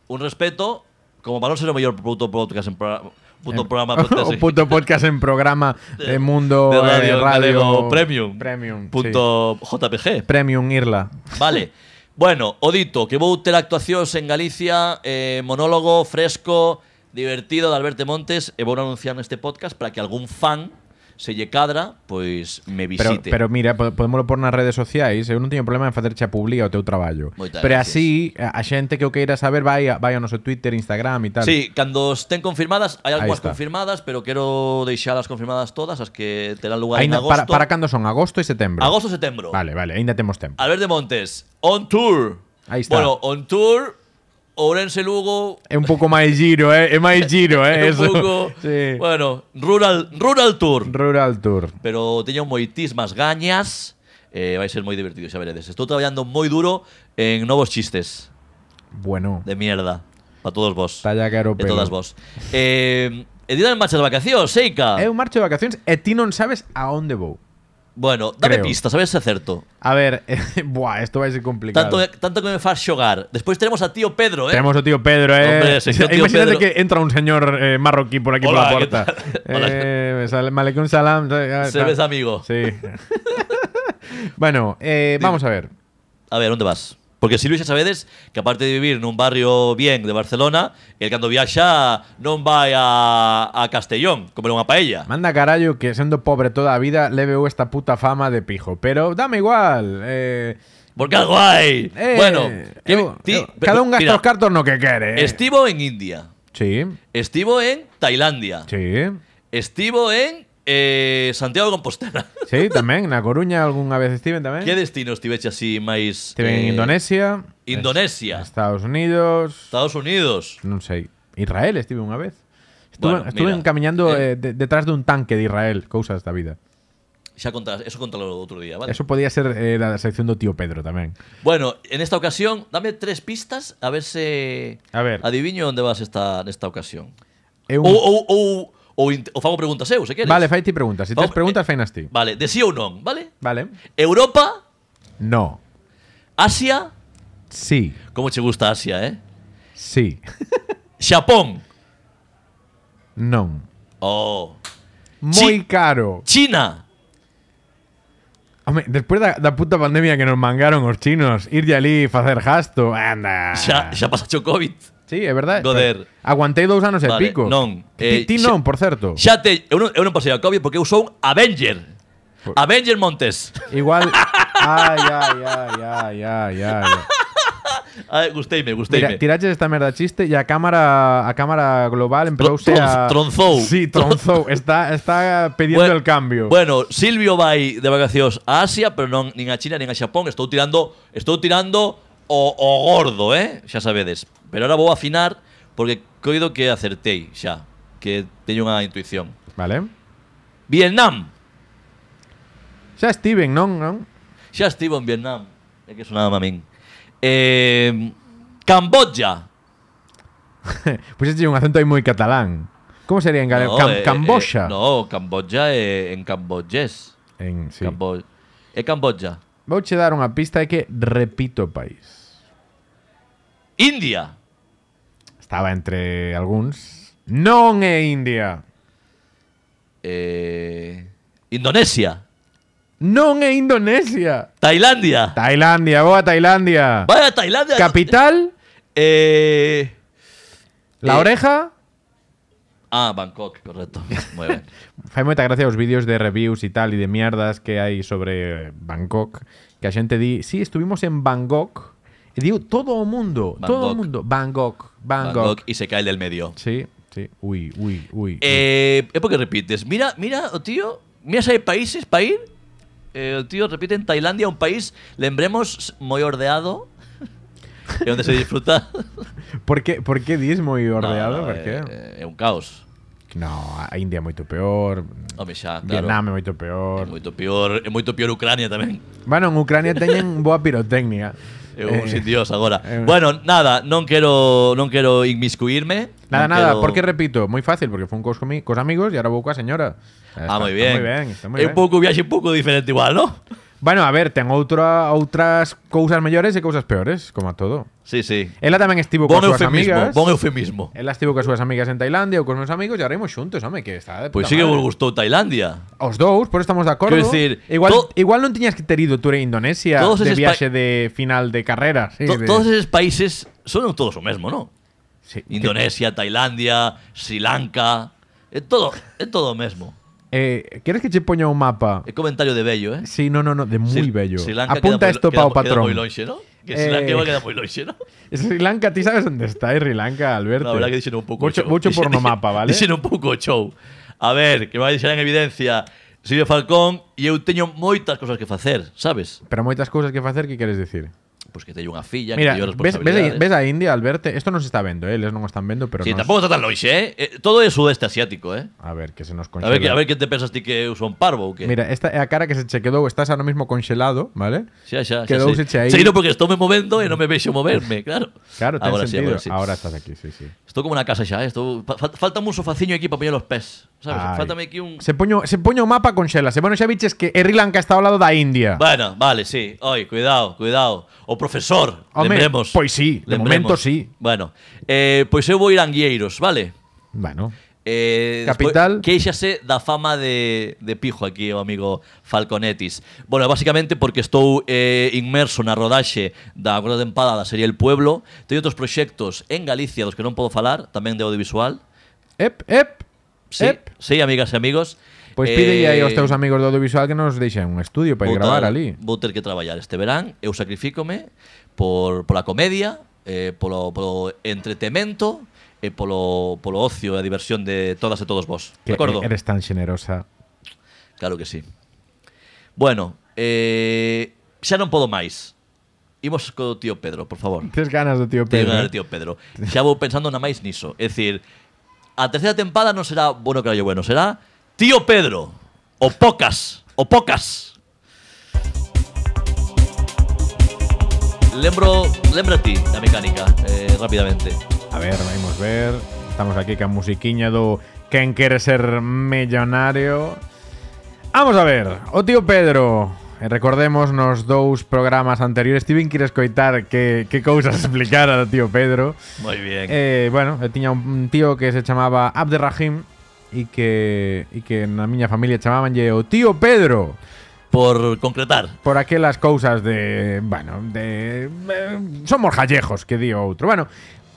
Un respeto, como para non ser o mellor puto podcast en pro- puto programa podcast
o
en-
puto podcast en programa de mundo
de
eh,
radio,
radio
galego premium.
premium sí.
Punto JPG.
premium irla
Vale. Bueno, Odito, que vou ter actuacións en Galicia, eh, monólogo fresco, divertido de Alberto Montes, e vou anunciar neste podcast para que algún fan se lle cadra, pois
pero,
me visite.
pero mira po- podémoslo por nas redes sociais eh, eu non teño problema en facerche a publica o teu traballo
Moitas
pero así
gracias.
a a xente que o queira saber vai, a- vai ao noso Twitter Instagram e tal
Sí, cando estén confirmadas, hai
Ahí
algunhas
está.
confirmadas, pero quero deixalas confirmadas todas, as que terán lugar en
Ainda, para,
agosto.
para cando son agosto e setembro
agosto, setembro.
vale vale ainda temos tempo
Albert de Montes, on tour.
Ahí está.
Bueno, on tour, Ourense Lugo.
é un pouco máis giro eh é máis giro eh
un
eso
pouco,
sí.
Bueno, rural, rural tour.
rural tour
pero teño moitísimas gañas eh, vai ser moi divertido, xa veredes Estou traballando moi duro en novos chistes
bueno
de mierda Para todos vos
Talla caro
E todas
pelo.
vos eh, E dí en marcha de vacacións, Seika
eu marcho de vacacións e ti non sabes a onde vou
Bueno, dame
creo.
pistas, a ver se acerto
A ver, buah, esto va a ser complicado.
tanto, eh. tanto que me faz xogar Despois teremos a tío Pedro, eh
Tenemos a tío Pedro, eh.
Hombre, ese tío
Imagínate
Pedro.
que entra un señor eh, marroquí por aquí
Hola,
por
¿qué
la puerta.
tal? Hola.
Eh, sal- Malecón salam. eh,
Se
tal.
ves amigo
Sí. bueno, eh, vamos a ver.
A ver, onde vas? Porque Silvio xa sabedes que aparte de vivir nun barrio bien de Barcelona El cando viaxa non vai a, a Castellón Comer unha paella
Manda carallo que siendo pobre toda la vida le veo esta puta fama de pijo. Pero dame igual. Eh,
Porque algo hay.
eh,
bueno, que-
eu-
ti-
eu-
pe-
cada un gasta
mira,
los cartos no que quiere. eh.
Estivo en India.
Sí,
Estivo en Tailandia.
sí.
Estivo en eh, Santiago de Compostela.
Sí, también. En La Coruña alguna vez Steven también.
que destinos tiveche así máis...
Steven en
eh,
Indonesia.
Indonesia.
Estados Unidos.
Estados Unidos.
non sei, Israel estive unha vez. Estuve,
Bueno,
estuve
mira,
encaminando
eh.
eh, de- detrás dun tanque de Israel, cousas da vida.
Xa contarás, eso contalo outro día, vale?
Eso podía ser eh, da sección do tío Pedro tamén.
Bueno, en esta ocasión, dame tres pistas a ver se...
A ver.
Adiviño onde vas esta, nesta ocasión.
É un-
Ou, ou, ou, ou, int- ou fago preguntas eu, se queres.
Vale, fai ti preguntas. Si tes
Vamos,
preguntas,
eh,
fainas ti.
Vale, de sí ou non, vale?
Vale.
Europa,
No.
Asia...
Sí.
Como che gusta Asia, eh?
Sí.
Xapón.
Non.
Oh.
Moi caro.
China.
Home, despois da, da puta pandemia que nos mangaron os chinos, ir ali facer gasto, anda.
Xa, xa pasaxe o COVID.
Sí, é verdade.
Goder.
Aguantei dous anos e
Vale,
pico.
non,
Ti,
eh,
ti
xa-
non, por certo.
Xa te, eu non, eu non pasei a COVID porque eu sou un Avenger. Avenger Montes.
Igual. Ai, ai, ai, ai, ai, ai.
Ah, gusteime,
Mira,
gusteime.
tiraches esta merda chiste e a cámara a cámara global empezou
Tron-
a...
tronzou.
Sí, tronzou. Está, está pidiendo
Bue-
el cambio.
Bueno, Silvio vai de vacacións a Asia, pero non nin a China nin a Xapón, estou tirando, estou tirando o, o gordo, eh? Xa sabedes. Pero ahora vou afinar porque coido que acertei xa, que teño unha intuición.
Vale.
Vietnam.
Xa Steven, non? non?
Xa estivo en Vietnam. É que sonaba a min. Eh, Camboya.
Pois pues un acento aí moi catalán. Como sería en galego? Cam-
eh,
Camboya.
eh, no, Camboya é en camboyés.
En, sí.
Cambo é Camboya.
Vouche dar unha pista de que repito o país.
India.
Estaba entre algúns. Non é India.
Eh, Indonesia.
Non é Indonesia.
Tailandia.
Tailandia, boa Tailandia.
Vaya Tailandia.
Capital,
Eh,
La
Eh.
Oreja.
ah, Bangkok, correcto. Muy bien.
Fai moita gracia os vídeos de reviews e tal e de mierdas que hai sobre eh, Bangkok que a xente di, sí, estuvimos en Bangkok e diu todo o mundo, todo o
Bangkok.
mundo, Bangkok, Bangkok.
Bangkok y se cae el del medio.
Sí, sí. Ui, ui, ui.
Eh, es porque repites. Mira, mira, o tío. Mira si hay países para ir. Eh, o tío repite en Tailandia, un país, lembremos, muy ordeado. y donde se disfruta.
Por que, por que dis moi ordeado?
No,
por
eh,
que?
eh, é un caos.
No, a India é moito peor.
Home, xa, Ah, claro.
Vietnam é moito
É
peor.
moito peor, é moito peor Ucrania tamén.
Bueno, en Ucrania teñen boa pirotecnia.
É
Eh,
un sin dios agora.
eh,
bueno, nada, non quero non quero inmiscuirme.
Nada,
non
nada,
quero-
porque repito, moi fácil, porque foi un cos comi- cos amigos e agora vou coa señora.
Ah,
Está
Eh, moi ben.
moi ben, está moi
é
ben.
un pouco viaxe un pouco diferente igual, ¿no?
Bueno, a ver, ten outra, outras cousas mellores e cousas peores, como a todo.
Sí, sí.
Ela tamén estivo
Bon
coas súas
eufemismo,
amigas. Eh,
bon eufemismo.
Ela estivo coas súas amigas en Tailandia ou cos meus amigos e ahora imos xuntos, home, que está de puta
Pois Pues sí que
madre.
vos gustou Tailandia.
Os dous, por estamos de acordo.
Quero dicir,
igual,
to-
igual non tiñas que ter ido tú a Indonesia
Todos
de
eses
viaxe de final de carrera. Sí,
To-
de-
Todos esos países son todos o mesmo, ¿no?
sí.
Indonesia, Tailandia, Sri Lanka, é todo, é todo o mesmo.
Eh, ¿Quieres que che poña un mapa?
É comentario de bello, eh?
Sí, no, no, no, de moi
Sri-
bello.
Sri Lanka
Apunta
queda moi-
isto
queda-
pa o
Queda moi
patrón.
lonxe, ¿no? Que
Eh,
Sri Lanka queda moi lonxe, ¿no?
Sri Lanka, ti sabes onde está eh, Sri Lanka, Alberto?
La verdad que dixen un pouco
Mucho, mucho por no mapa, vale?
Dixen un pouco o show. A ver, que vai deixar en evidencia Silvio Falcón e eu teño moitas cousas que facer, sabes?
Pero moitas cousas que facer, que queres decir?
Pois que teño unha filla,
Mira,
que
ves,
teño
ves, a,
responsabilidades.
ves a India, Alberto? Esto non se está vendo, eh? Eles non o están vendo, pero
sí,
nos-
tampouco está tan lonxe, eh? Eh, Todo é sudeste asiático, eh?
A ver, que se nos
A
conxela.
ver, que, a ver que te pensas ti que eu son parvo ou que?
Mira, esta é a cara que se che quedou, estás ahora mismo conxelado, vale?
xa, xa, xa,
quedouse che aí.
sei. Sei, no, porque estou me movendo e non me veixo moverme, claro.
Claro, ten
agora
sentido.
Sí,
Ahora
agora sí.
estás aquí, sí, sí.
Estou como na casa xa, eh? Estou... fa- fal- Faltame un sofaciño aquí para poñer os pés, sabes?
Ai.
Faltame aquí un...
Se poño, se poño o mapa con xelas. E bueno, xa viches que Sri Lanka está ao lado da India.
Bueno, vale, sí. Oi, cuidado, cuidado. O profesor,
Home,
lembremos.
pois sí, de momento sí.
Bueno, eh, pois eu vou ir a Anguieiros, vale?
Bueno,
Eh,
Capital.
Queixase da fama de, de pijo aquí o amigo Falconetis Bueno, basicamente porque estou eh, inmerso na rodaxe da cuarta tempada da serie El Pueblo Teño outros proxectos en Galicia dos que non podo falar Tamén de audiovisual
ep, ep,
Sí,
ep.
sí amigas e amigos
Pois pide aí
Eh,
aos teus amigos do audiovisual que nos deixen un estudio para ir
vou
gravar
ter-
ali.
Vou ter que traballar este verán, eu sacrificome por, pola comedia, eh, polo, polo entretemento e polo, polo ocio e a diversión de todas e todos vos.
Que
De acordo?
eres tan xenerosa.
Claro que sí. Bueno, eh, xa non podo máis. Imos co tío Pedro, por favor.
Tes ganas do tío Pedro.
Pedro.
¿eh?
Ganar, tío Pedro. Xa vou pensando na máis niso. É dicir, a terceira tempada non será Bueno Carallo Bueno, será Tío Pedro. O Pocas. O Pocas. Lembro, lembra ti da mecánica, eh, rapidamente.
A ver, vamos ver. Estamos aquí con musiquiña do Quen quere ser millonario. Vamos a ver, o tío Pedro. E recordemos nos dous programas anteriores. Steven quere escoitar que, que cousas explicara do tío Pedro.
Moi ben.
Eh, bueno, eu tiña un tío que se chamaba Abderrahim e que e que na miña familia chamabanlle o tío Pedro.
por concretar.
Por aquelas cousas de, bueno, de eh, somos gallejos, que di outro. Bueno,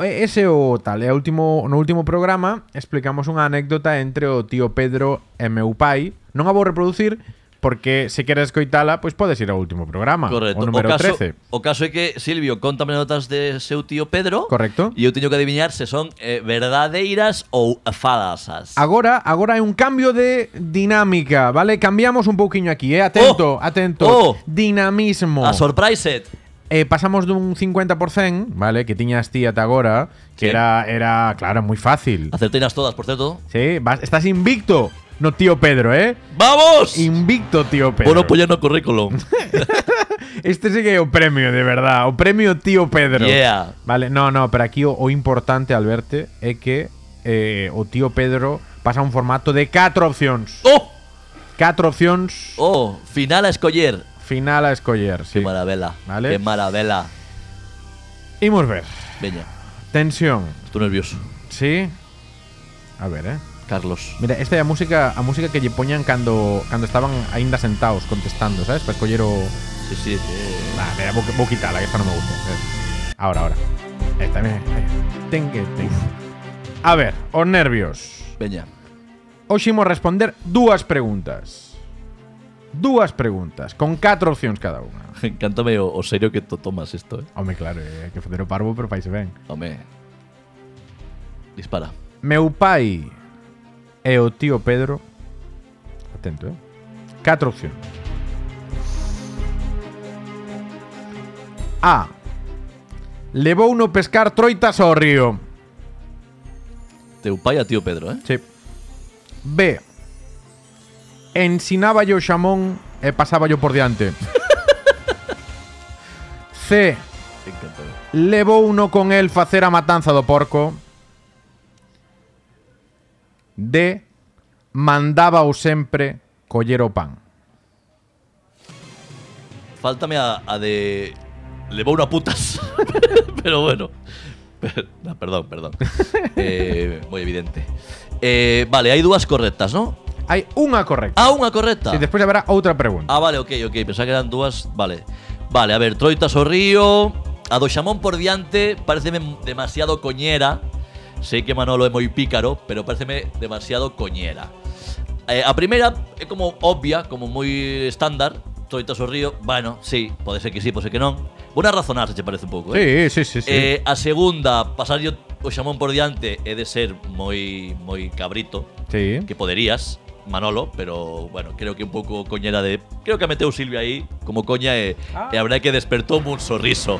e- ese o tal, e último, no último programa explicamos unha anécdota entre o tío Pedro e meu pai. Non a vou reproducir porque se queres escoitala, pois podes ir ao último programa, Ah,
Correcto.
o número
caso,
13.
o caso é que Silvio contame notas de seu tío Pedro.
Correcto.
E eu teño que adivinar se son eh, verdadeiras ou fadasas.
Agora, agora hai un cambio de dinámica, vale? Cambiamos un pouquiño aquí, eh? Atento,
Oh!
atento.
Oh!
Dinamismo.
A surprise set.
Eh, pasamos dun 50%, vale, que tiñas ti ata agora, que
Sí.
era, era claro, moi fácil.
Acerteinas todas, por certo.
Sí, vas- estás invicto, no tío Pedro, eh?
¡Vamos!
Invicto, tío Pedro.
Por non poñer no currículum.
Este sí que é o premio, de verdad. O premio tío Pedro.
Yeah.
Vale, no, no, pero aquí o, o importante al verte é que eh, o tío Pedro pasa a un formato de 4 opcións.
¡Oh!
4 opcións,
¡Oh! Final a escoller.
final a escoller, sí.
Que maravela.
Vale.
Que maravela.
Imos ver.
Veña,
Tensión,
estou nervioso.
sí? A ver, eh.
Carlos.
Mira, esta é a música a música que lle poñan cando cando estaban aínda sentados contestando, sabes? Para escoller o
Sí, sí. eh,
Nah, mira, vou, vou quitala, que esta non me gusta. Eh, Ahora, ahora. Esta bien. Ten que ten. A ver, os nervios.
Veña.
Hoxe imos responder dúas preguntas. Dúas preguntas, con catro opcións cada unha.
Encántame o, o serio que to tomas isto, eh.
Home, claro, é que facer o parvo, pero faise ben.
Home. Dispara.
Meu pai e o tío Pedro Atento, eh Catro opcións A Levou no pescar troitas ao río
Teu pai a tío Pedro, eh.
sí. B Ensináballe o xamón e pasáballo por diante C
Encántame.
Levou uno con el facer a matanza do porco. D. Mandaba o sempre coller o pan.
Fáltame a, a de. Levou una putas. Pero bueno. Per- no, perdón, perdón. Eh, moi evidente. Eh, vale, hai dúas correctas, ¿no?
Hai unha correcta.
Ah, unha correcta.
E despois haberá outra pregunta.
Ah, vale, ok, ok. Pensaba que eran dúas. Vale. Vale, a ver, Troitas o Río. A do xamón por diante pareceme demasiado coñera. Sei que Manolo é moi pícaro, pero pareceme demasiado coñera. Eh, a primeira é como obvia, como moi estándar. Troitas o Río, bueno, sí, pode ser que sí, pode ser que non. Bona razonar, se che parece un pouco, eh?
Sí, sí, sí, sí.
Eh, a segunda, pasar yo o xamón por diante é de ser moi moi cabrito,
sí.
que poderías, Manolo, pero bueno, creo que un pouco coñera de... Creo que a meteu Silvia aí como coña e,
Ah.
e a verdade é que despertou un sorriso.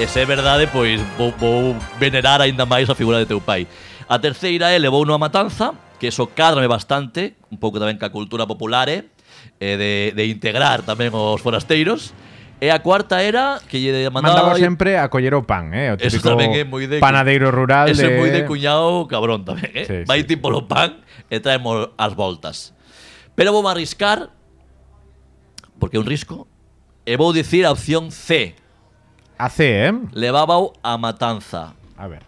E se é verdade, pois vou, vou venerar aínda máis a figura de teu pai. A terceira é levou a matanza, que eso cadrame bastante, un pouco tamén ca cultura popular, eh, e de, de integrar tamén os forasteiros. E a cuarta era que lle mandaba...
Mandaba o sempre a coller o pan, eh? O
Eso
típico
tamén é moi de-
panadeiro rural
Eso
de...
é moi de cuñado cabrón tamén, eh?
Sí,
Vai
sí,
tipo lo pan e traemos as voltas. Pero vou arriscar, porque é un risco, e vou dicir a opción C.
A C, eh?
Levábao a matanza.
A ver.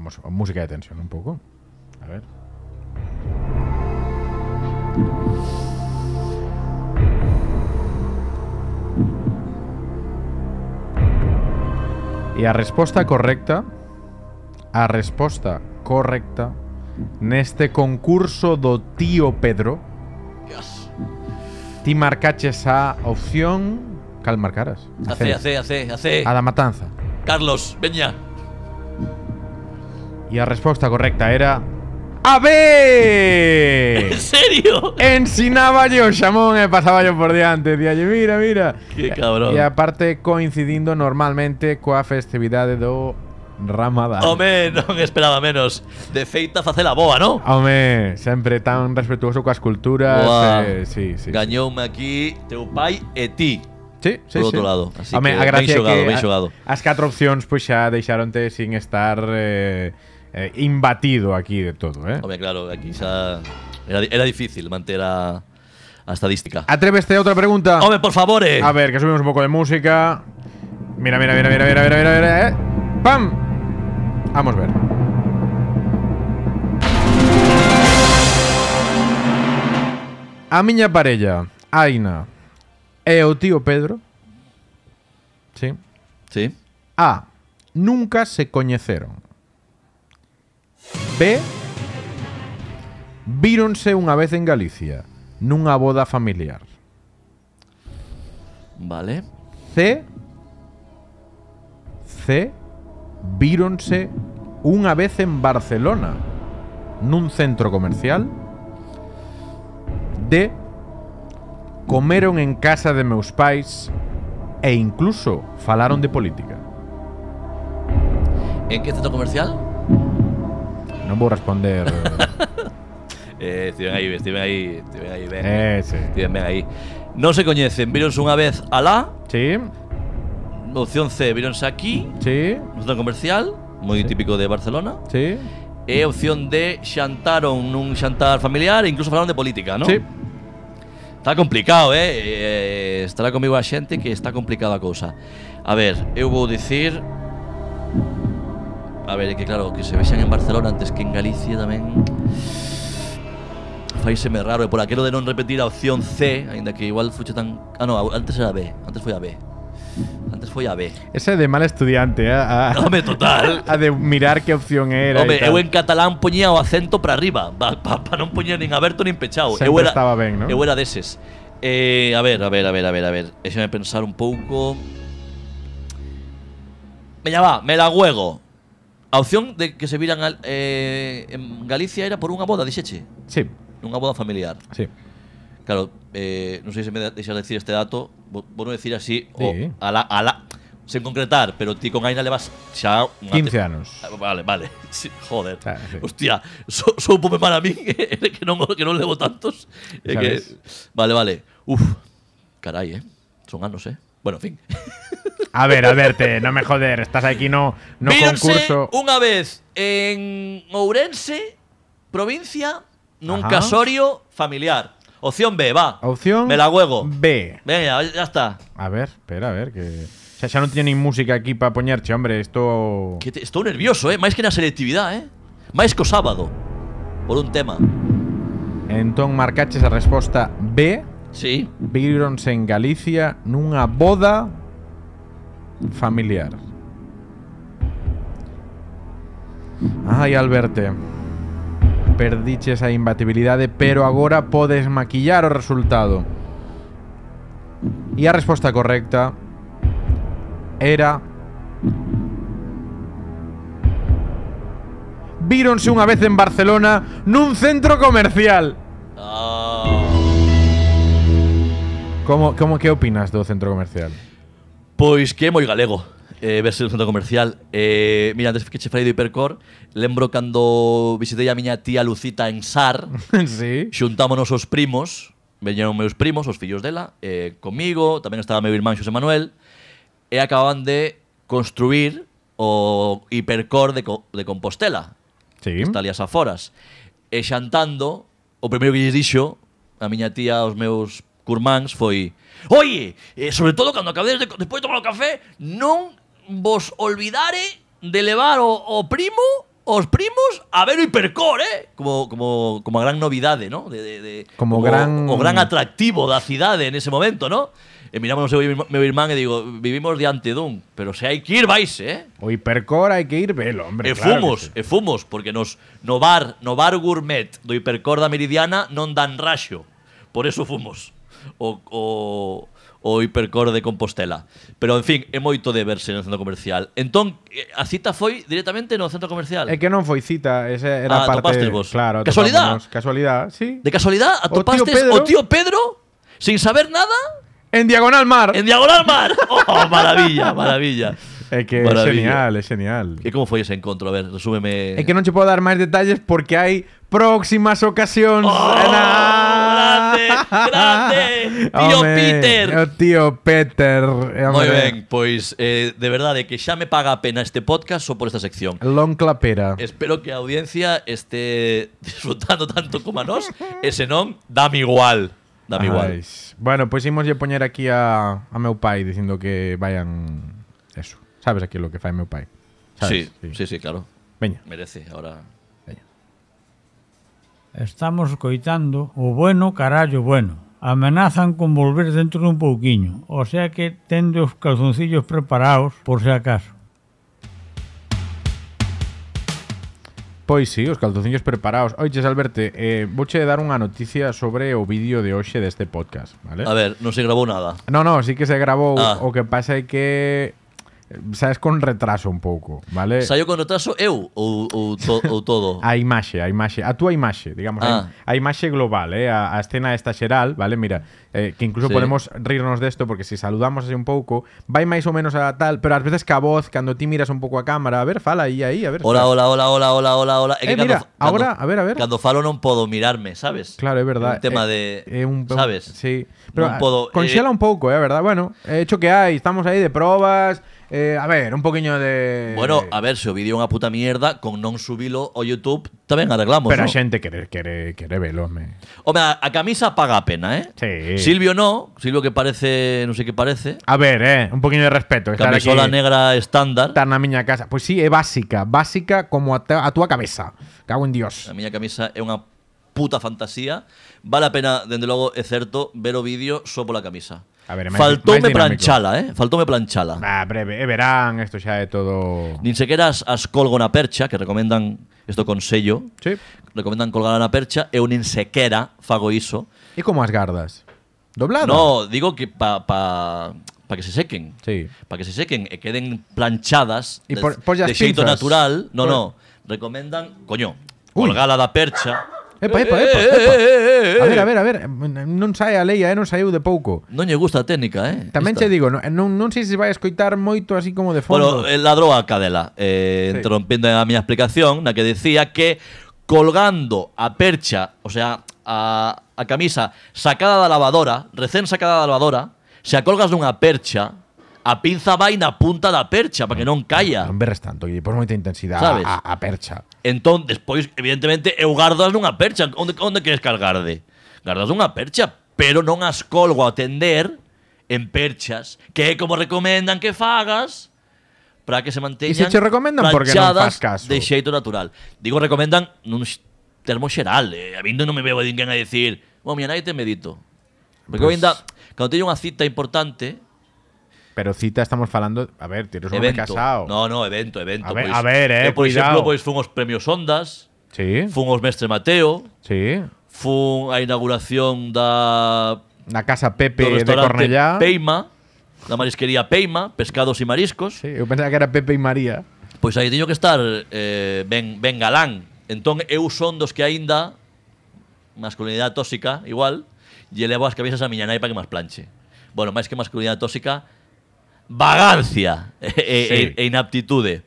Vamos, música de tensión un pouco. A ver. E a resposta correcta A resposta correcta Neste concurso do tío Pedro
Dios.
Ti marcaches a opción Cal marcaras?
A C, a C, a C, a C.
A da matanza
Carlos, veña.
E a resposta correcta era A B!
En serio?
Ensinaba yo xamón e pasaba yo por diante Díalle, mira, mira
Que cabrón.
E aparte coincidindo normalmente coa festividade do Ramadán
Home, non esperaba menos. De feita facela boa, non?
Home, sempre tan respetuoso coas culturas
Boa.
eh, Sí, sí, sí.
Gañoume aquí teu pai e ti.
Sí, sí,
por outro
sí.
lado. Así
Home,
que
a
ben
gracia é
xogado,
que
ben
a-
xogado.
As catro opcións pois xa deixaronte sin estar eh, eh, imbatido aquí de todo, eh?
Home, claro, aquí xa era, era difícil manter a, a estadística.
Atréveste a outra pregunta.
Home, por favor, eh.
A ver, que subimos un poco de música. Mira, mira, mira, mira, mira, mira, mira, mira, eh. ¡Pam! Vamos a ver. A miña parella, Aina, E o tío Pedro. Sí.
Sí.
A. Nunca se coñeceron. B. Víronse unha vez en Galicia, nunha boda familiar.
Vale.
C. C. Víronse unha vez en Barcelona, nun centro comercial. D. Comeron en casa de meus pais e incluso falaron de política.
¿En qué centro comercial?
Non vou responder.
Eh, Steven ahí, Steven ahí, Steven ahí, ven.
eh, sí.
Steven, ven ahí. No se coñecen, víronse unha vez alá.
Sí,
Opción C, víronse aquí,
sí,
un centro comercial, moi típico de Barcelona.
sí.
E opción D, xantaron nun xantar familiar e incluso falaron de política, ¿no?
Sí.
Está complicado, eh? Eh, Estará comigo a xente que está complicada a cousa A ver, eu vou dicir A ver, é que claro, que se vexan en Barcelona antes que en Galicia tamén Faíseme raro, e por aquilo de non repetir a opción C Ainda que igual fuche tan... Ah, no, antes era B, antes foi a B Antes foi a B
Ese de mal estudiante, eh, a, a,
Home, total
a de mirar que opción era.
Home,
e tal.
eu en catalán poñía o acento para arriba Para pa, pa non poñer nin aberto nin pechado
Sempre
eu era,
estaba ben, ¿no?
Eu era deses eh, A ver, a ver, a ver, a ver, a ver Deixame pensar un pouco Veña va, me la huego A opción de que se viran al- eh, en Galicia era por unha boda, dixeche
Sí,
Unha boda familiar
sí.
Claro, eh, non sei se me de- deixas decir este dato Vou vou non decir así o
Sí.
ala, ala, Sen concretar, pero ti con Aina levas xa unha
15 anos.
Ah, Vale, vale. Sí, joder.
Ah, sí.
Hostia, so, soupo para mí eh, que non, que non levo tantos. Eh, que- Vale, vale. Uf, carai, eh. Son anos, eh. Bueno, en fin.
A ver, Alberte, no me joder, estás aquí no, no
Víronse
concurso.
unha vez en Ourense, provincia, nun
Ajá.
casorio familiar. Opción B, va.
Opción
Me la huevo.
B.
Venga, ya está.
A ver, espera, a ver, que. Xa, xa non tiña nin música aquí para poñerche, hombre, isto.
Que te- estou nervioso, eh. Máis que na selectividade, eh. Máis co sábado. Por un tema.
Entón marcaches a resposta B.
Sí.
Víronse en Galicia nunha boda familiar. Ai, Alberte. Perdiches a imbatibilidade, pero agora podes maquillar o resultado. E a resposta correcta era Víronse unha vez en Barcelona nun centro comercial.
Ah.
Como, como que opinas do centro comercial?
Pois que é moi galego eh, verse no centro comercial eh, Mira, antes que che falei do hipercor Lembro cando visitei a miña tía Lucita en Sar
sí.
Xuntámonos os primos Veñeron meus primos, os fillos dela eh, Comigo, tamén estaba meu irmán Xosé Manuel E acababan de construir o hipercor de, Co- de Compostela
Sí.
que está ali as aforas. E xantando, o primeiro que lles dixo a miña tía aos meus curmáns foi Oye, eh, sobre todo cando acabedes de, co- despois de tomar o café, non vos olvidare de levar o, o primo os primos a ver o hipercor, eh? Como, como, como a gran novidade, ¿no? De, de, de,
Como gran-
O gran atractivo da cidade en ese momento, ¿no? E miramos o meu irmán e digo, vivimos diante dun, pero se hai que ir, vais, eh?
O hipercor hai que ir velo, hombre.
E
claro que
fumos,
sí.
e fumos, porque nos no bar, no bar gourmet do Hipercorda Meridiana non dan raxo. Por eso fumos. O, o, o Hipercor de Compostela. Pero, en fin, é moito de verse no centro comercial. Entón, eh, a cita foi directamente no centro comercial.
É que non foi cita, esa era
Ah,
parte...
atopastes vos.
Claro,
Casualidad.
atopámonos. Casualidad, sí.
De casualidad, atopastes
Pedro.
o tío Pedro, sin saber nada,
En Diagonal Mar.
en Diagonal Mar. Oh, maravilla, maravilla.
É que é genial,
Maravilla.
é genial.
E como foi ese encontro? A ver, resúmeme.
É que non che podo dar máis detalles porque hai próximas ocasións.
Oh,
Na-
grande, grande. Tío
Home,
Peter.
O oh, tío Peter. eh,
Moi
hombre.
ben, pois eh, de verdade que xa me paga a pena este podcast só por esta sección.
Lon Clapera.
Espero que a audiencia este disfrutando tanto como a nós e se non, dame igual. Dame
Ai,
igual.
Bueno, pues pois imos lle poñer aquí a, a meu pai dicindo que vayan eso. Sabes aquí lo que fai meu pai.
Sí,
Sabes?
sí, sí, claro.
Veña.
Merece, ahora.
Estamos coitando o bueno carallo bueno amenazan con volver dentro dun pouquiño, o sea que tende os calzoncillos preparados por se acaso.
Pois sí, os calzonciños preparados. Oiches, Alberto, eh, vouche dar unha noticia sobre o vídeo de hoxe deste podcast, vale?
A ver, non se grabou nada.
No, no, sí que se grabou.
Ah.
O que pasa é que eh, sabes con retraso un pouco, vale?
Saiu con retraso eu ou, ou, to, ou todo?
A imaxe, a imaxe, a túa imaxe, digamos,
Ah.
a, a imaxe global, eh, a, a escena esta xeral, vale? Mira, eh, que incluso
Sí.
podemos rirnos desto porque se si saludamos así un pouco, vai máis ou menos a tal, pero ás veces que a voz, cando ti miras un pouco a cámara, a ver, fala aí, aí, a ver.
Hola,
fala.
hola, hola, hola, hola, hola, hola.
Eh, mira, ahora, a ver, a ver.
Cando falo non podo mirarme, sabes?
Claro, é verdade.
Un tema
É-
de,
é eh, un-
sabes? eh,
Sí. Pero
Pero non podo,
conxela un pouco, é verdade. Bueno, é hecho que hai, estamos aí de probas, eh, a ver, un poquinho de
Bueno, a ver, se o vídeo é unha puta mierda, con non subilo ao YouTube tamén arreglamos,
Pero a
non?
xente quere quere quere velo, me.
Home, a, a camisa paga a pena, eh?
Sí.
Silvio no, Silvio que parece, non sei que parece,
A ver, eh, un poquinho de respeto, estar aquí,
camisola negra estándar.
estar na miña casa. Pois sí, é básica, básica como a, ta- a túa cabeza. Cago en Dios.
A miña camisa é unha puta fantasía. Vale a pena, dende logo, é certo, ver o vídeo só pola camisa.
A ver, é máis-
Faltoume
máis dinámico.
planchala, eh? Faltoume planchala.
Ah, breve, é verán, isto xa é todo.
Nin sequera as, as colgo na percha, que recomendan isto consello,
Sí.
recomendan colgar na percha, eu nin sequera fago iso.
E como as gardas? Doblada?
No, digo que pa, pa, pa que se sequen.
Sí.
Para que se sequen e queden planchadas
E
de,
por- polla
de
as
xeito
pinzas.
natural. No,
Por-
no. Recomendan, coño,
Ui.
colgala da percha.
Epa, epa,
Eh,
epa,
eh,
epa.
eh, eh,
A ver,
eh.
a ver, a ver, non sai a leia, eh, non saiu de pouco.
Non lle gusta a técnica, eh?
Tamén che
Esta.
digo, no- non, non sei se vai escoitar moito así como de fondo.
Bueno, eh, ladrou a cadela, eh,
Sí.
interrompindo a miña explicación, na que decía que colgando a percha, o sea, a, a camisa sacada da lavadora, recén sacada da lavadora, se a colgas dunha percha, a pinza vai na punta da percha para que non caia.
non berres tanto, e por moita intensidade
Sabes?
a, a percha.
Entón, despois, evidentemente, eu gardas nunha percha. Onde, onde queres cargarde? Gardas nunha percha, pero non as colgo a tender en perchas, que é como recomendan que fagas para que se manteñan
E se che recomendan, por que non fas caso?
planchadas de xeito natural. Digo recomendan nun x- termo xeral. Eh. A mí non me veo a ninguén a dicir bueno, miña nai te medito. Porque
Pues-
pues... ainda, cando teño unha cita importante,
Pero cita estamos falando, a ver, tienes un hombre
evento.
casado.
No, no, evento, evento.
A ver- a ver, eh,
eu, por
cuidado.
exemplo, pois fun aos premios Ondas,
Sí.
fun aos Mestre Mateo,
Sí.
fun a inauguración da
Na casa
do
Pepe de
restaurante
Cornellá.
Peima, da marisquería Peima, pescados e mariscos,
Sí, eu pensaba que era Pepe e María.
pois aí teño que estar eh, ben, ben galán. Entón eu son dos que aínda masculinidade tóxica, igual, lle levo as cabezas a miña nai para que mas planche. Bueno, máis que masculinidade tóxica, vagancia e,
Sí.
e, e inaptitude.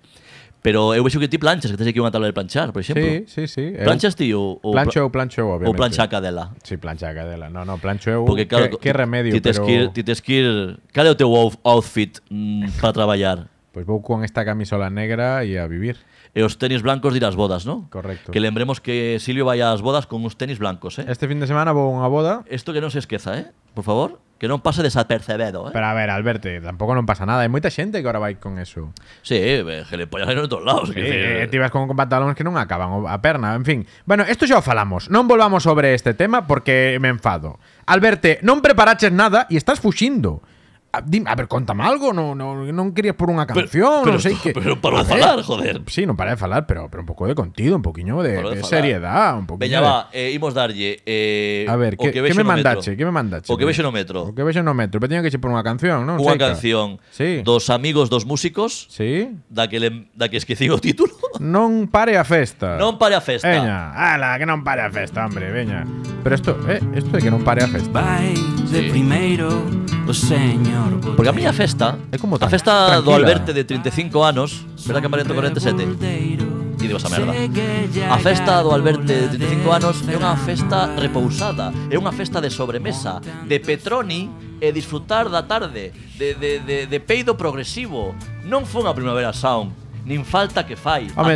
Pero eu vexo que ti planchas, que tens aquí unha tabla de planchar, por exemplo.
Sí, sí, sí. Eu-
Planchas ti ou, ou,
plancho eu,
pla-
plancho eu,
ou
obviamente.
plancha a cadela?
Sí, plancha a cadela. No, no, plancho eu.
Porque claro,
que, que Uh, remedio,
ti tes
pero...
que ir, ti tes que ir, cal é o teu ou- outfit mm, para traballar?
Pois vou pues con esta camisola negra e a vivir.
E os tenis blancos de ir ás bodas, non?
Correcto.
Que lembremos que Silvio vai ás bodas con uns tenis blancos, eh?
Este fin de semana vou a unha boda.
Isto que non se esqueza, eh? Por favor, que non pase desapercebido, eh?
Pero a ver, Alberto, tampouco non pasa nada. Hai moita xente que ahora vai con eso.
Sí, eh, gelepollas en todos lados. que
Eh, eh, ti
decir,
vas con pantalóns que non acaban o- a perna, en fin. Bueno, isto xa o falamos. Non volvamos sobre este tema porque me enfado. Alberto, non preparaches nada e estás fuxindo. A, dim- a ver, contame algo, non, non, non querías por unha canción, non sei que...
Pero
A ver,
para
Pues
falar, joder.
Sí, non para de falar, pero, pero un pouco de contido, un poquinho de,
Parou
de
de falar.
seriedad, un poquinho
Veña,
de-
va, eh, imos darlle eh,
A ver,
o
que,
que
que
vexo
me
no metro.
mandache? Que me mandache?
O que vexo no
O
metro.
que vexo no metro, pero teño que che por unha canción, non?
Unha
Seica?
canción
Sí.
dos amigos dos músicos
Sí?
da que, lem- da que esquecín o título.
Non pare a festa.
non pare a festa.
Veña, ala, que non pare a festa, hombre, veña. Pero isto, eh, isto de que non pare a festa.
Vai de
Sí.
primeiro o señor Botella.
Porque a miña festa
É como
A
tan-
festa do
tranquila.
Alberto de 35 anos Verá que aparento 47
Reboldeiro,
E digo esa merda
sei que lle
A festa do Alberto de 35 anos É unha
desesperamos.
festa repousada É unha festa de sobremesa De Petroni e disfrutar da tarde De, de, de, de peido progresivo Non fun a Primavera Sound Nin falta que fai
Home,
a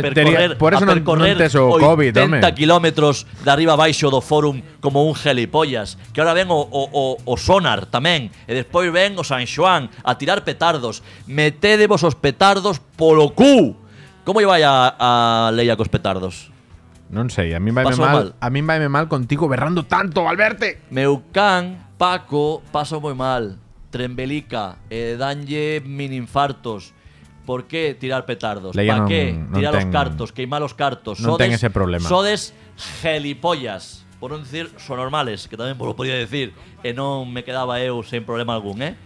tería-
percorrer,
por eso
a
non-
percorrer
non tes o Covid, home.
80 kilómetros de arriba abaixo do fórum como un gelipollas, que ahora ven o, o, o, o sonar tamén, e despois ven o San Xoán a tirar petardos. Metedevos os petardos polo cu. Como lle vai a, a Leia cos petardos?
Non sei, a min vaime
Pasou
mal,
mal.
a min vaime mal contigo berrando tanto, Alberto.
Meu can Paco pasa moi mal. Trembelica, eh, danlle mini infartos. Por que tirar petardos?
Leia
¿Para
non-
qué
non
tirar
ten-
os cartos? Queimar os cartos?
non ten ese problema.
Sodes gelipollas. Por non dicir sonormales, que tamén vos lo podía decir. E non me quedaba eu sen problema algún, eh?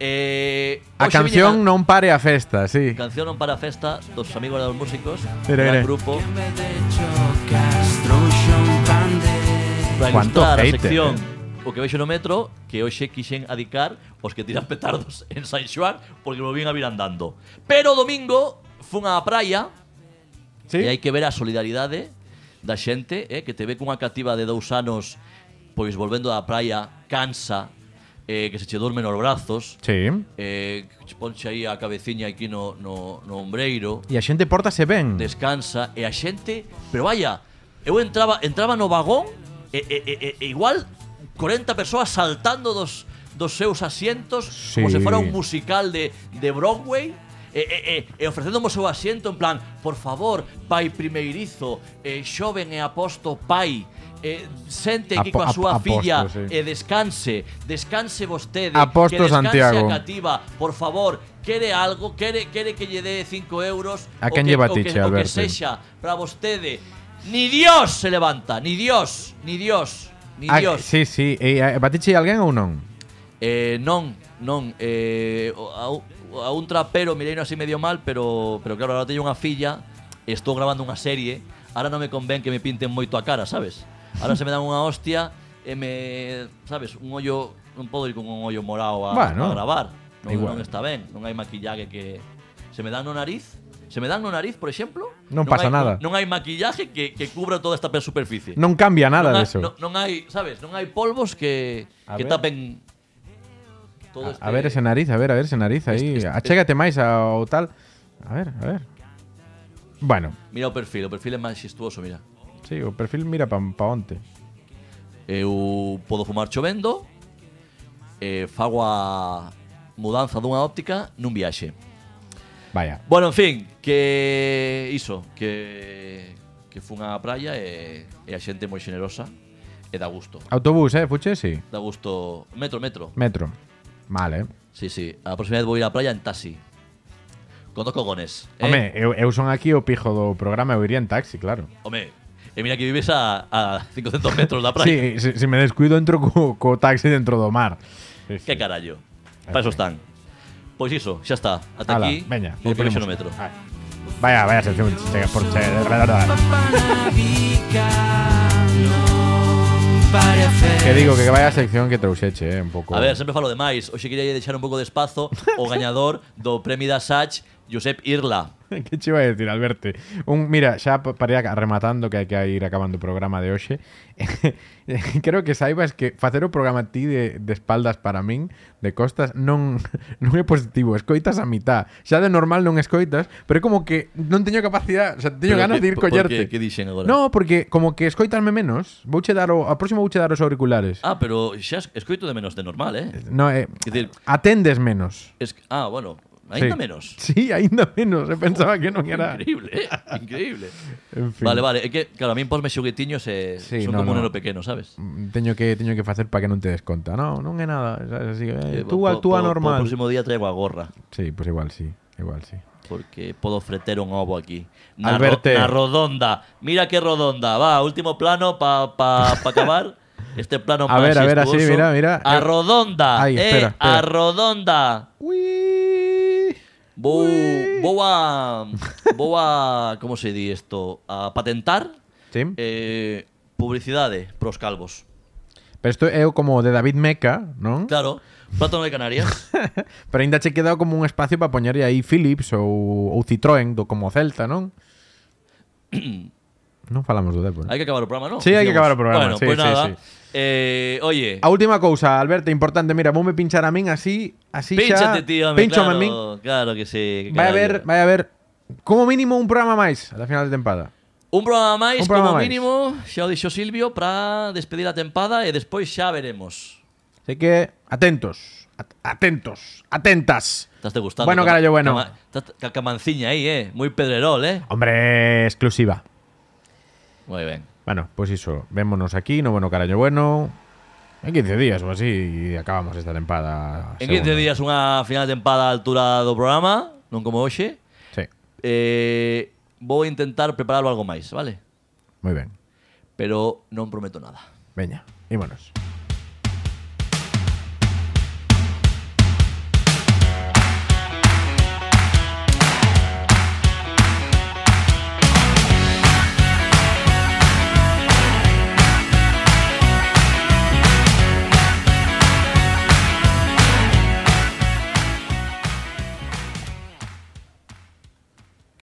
eh
A
hoxe
canción
viña-
non pare a festa, sí.
Canción non para a festa dos amigos dos músicos.
Mira,
gran
mira.
grupo.
en vez de chocar, struscio un pan de-
para
Cuánto
ilustrar
hater,
a sección o que vexo no metro que hoxe quixen adicar os que tiran petardos en San Xoán porque lo vin a vir andando. Pero o domingo fun á praia e hai que ver a solidaridade da xente eh, que te ve cunha cativa de dous anos pois volvendo da praia cansa eh, que se che dormen os brazos
Sí.
eh, que che ponche aí a cabeciña aquí no, no, no ombreiro
E a xente portase ben.
descansa e a xente, pero vaya, eu entraba entraba no vagón e, e, e, e- e igual 40 persoas saltando dos dos seus asientos
Sí.
como se fora un musical de, de Broadway. E, e, e, e ofrecendo o seu asiento en plan Por favor, pai primeirizo eh, Xoven e aposto pai eh, Sente aquí
Apo-
coa súa
ap- aposto,
filla
sí.
E descanse Descanse vostede
Aposto,
Que descanse
Santiago.
a cativa Por favor, quere algo Quere, quere que lle dé 5 euros
A
o
quen
que-
lleva
o que-
tiche,
o que
Alberto?
sexa para vostede. Ni Dios se levanta, ni Dios, ni Dios, ni
Ah,
Dios.
sí, sí. E, eh, batiche alguén ou non?
Eh, non, non, eh, o- a, u- a un trapero mireino así medio mal, pero pero claro, agora teño unha filla, estou grabando unha serie, ahora non me convén que me pinten moito a cara, sabes? Ahora se me dan unha hostia e me, sabes, un ollo, non podo ir con un ollo morado a,
Bueno,
a gravar. Non,
igual.
non está ben, non hai maquillaje que se me dan no nariz, se me dan no nariz, por exemplo,
Non pasa
hai-
nada.
Non hai maquillaje que, que cubra toda esta superficie.
Non cambia nada
non hai,
deso.
Non, non hai, sabes, non hai polvos que,
A
que
ver.
tapen todo
A,
este...
a ver ese nariz, a ver, a ver ese nariz aí.
este- este-
Achégate máis ao tal. A ver, a ver. Bueno,
Mira o perfil, o perfil é máis xestuoso, mira.
sí, o perfil mira pa, pa onte.
Eu podo fumar chovendo, eh, fago a mudanza dunha óptica nun viaxe.
Vaya.
Bueno, en fin, que iso, que que fun á praia e, e a xente moi xenerosa e da gusto.
Autobús, eh, fuche, sí.
Da gusto. Metro, metro.
Metro. Vale.
Sí, sí. A próxima vez vou ir á praia en taxi. Con dos cogones. eh?
Home, eu, eu son aquí o pijo do programa, eu iría en taxi, claro.
Home, e mira que vives a, a 500 metros da praia.
Sí, se, se me descuido entro co, co taxi dentro do mar. Sí, sí.
Que carallo. Para eso están. Pois iso, xa está. Ata
Ala,
aquí.
veña,
o
iremos.
metro.
Ai. Vaya, vaya sección, chega por che-
Papanavica, non pare a fe-
Que digo que vaya sección que trouxeche, eh, un pouco.
A ver, sempre falo de máis. Hoxe quería deixar un pouco de espazo o gañador do Premio da Sach, Josep Irla.
que che iba a decir, Alberto? Un, mira, xa pa- para ir aca- rematando que hai que ir acabando o programa de hoxe. Creo que saibas que facer o programa ti de, de espaldas para min, de costas, non non é positivo, escoitas a mitad. Xa de normal non escoitas, pero é como que non teño capacidade, o sea, teño
Pero
ganas
que-
de ir
por- por
collerte.
que- que dixen agora?
No, porque como que escoitarme menos, vouche dar o a próximo vouche dar os auriculares.
Ah, pero xa es- escoito de menos de normal, eh?
No, eh,
Quer dicir-
atendes menos.
Es, ah, bueno, ainda
Sí.
menos.
Sí, ainda menos. Eu pensaba que non era.
Increíble, eh? Increíble.
En fin.
Vale, vale. É que, claro, a mí posme xuguetiños e
Sí,
son
no,
como un
no.
neno pequeno, sabes?
Mm, Teño que teño que facer para que non te des conta. No, non é nada, sabes así. eh,
Eh,
tú
po-
actúa
po-
normal.
Po, próximo día traigo a gorra.
Sí, pois pues igual sí, igual sí.
Porque puedo freter un ovo aquí. Na,
Alberto.
ro- na rodonda. Mira qué rodonda. Va, último plano para pa, pa acabar. Este plano
A
más
ver, a ver, así,
gestuoso.
mira, mira.
A rodonda.
Ahí,
eh,
espera, espera.
A rodonda.
Ui.
Vou, vou a... Vou a... Como se di isto? A patentar
Sí.
eh, publicidade pros calvos.
Pero isto é o como de David Meca, non?
Claro. Plátano de Canarias.
Pero ainda che queda como un espacio para poñerlle aí Philips ou, ou Citroën do como Celta, non? non falamos do Depor.
Hay que acabar el programa, ¿no?
Sí, hay que
Decíamos.
acabar o programa,
Bueno,
sí,
pues
sí,
nada.
sí.
Eh, oye,
A última cousa, Alberto, importante, mira, voume pinchar a min así, así
pínchate,
xa.
tío. hombre,
Pínchame
claro,
a min.
Claro que sí. que
Vai a
carallo.
ver, vai a ver como mínimo un programa máis a final de tempada.
Un programa máis,
Un programa
como
máis.
mínimo, xa o dixo Silvio, para despedir a tempada e despois xa veremos.
Así que atentos, at- atentos, atentas.
Estás gustando.
Bueno, carallo, bueno.
Camanciña aí, eh. Moi pedrerol, eh.
Hombre, exclusiva.
Moi ben.
Bueno, pues eso, vémonos aquí, no bueno carallo bueno. En 15 días o así y acabamos esta tempada.
En 15
segunda.
días unha final de tempada a altura do programa, non como hoxe.
Sí,
Eh, vou intentar prepararlo algo máis, vale?
muy bien.
Pero non prometo nada.
Veña, ímonos.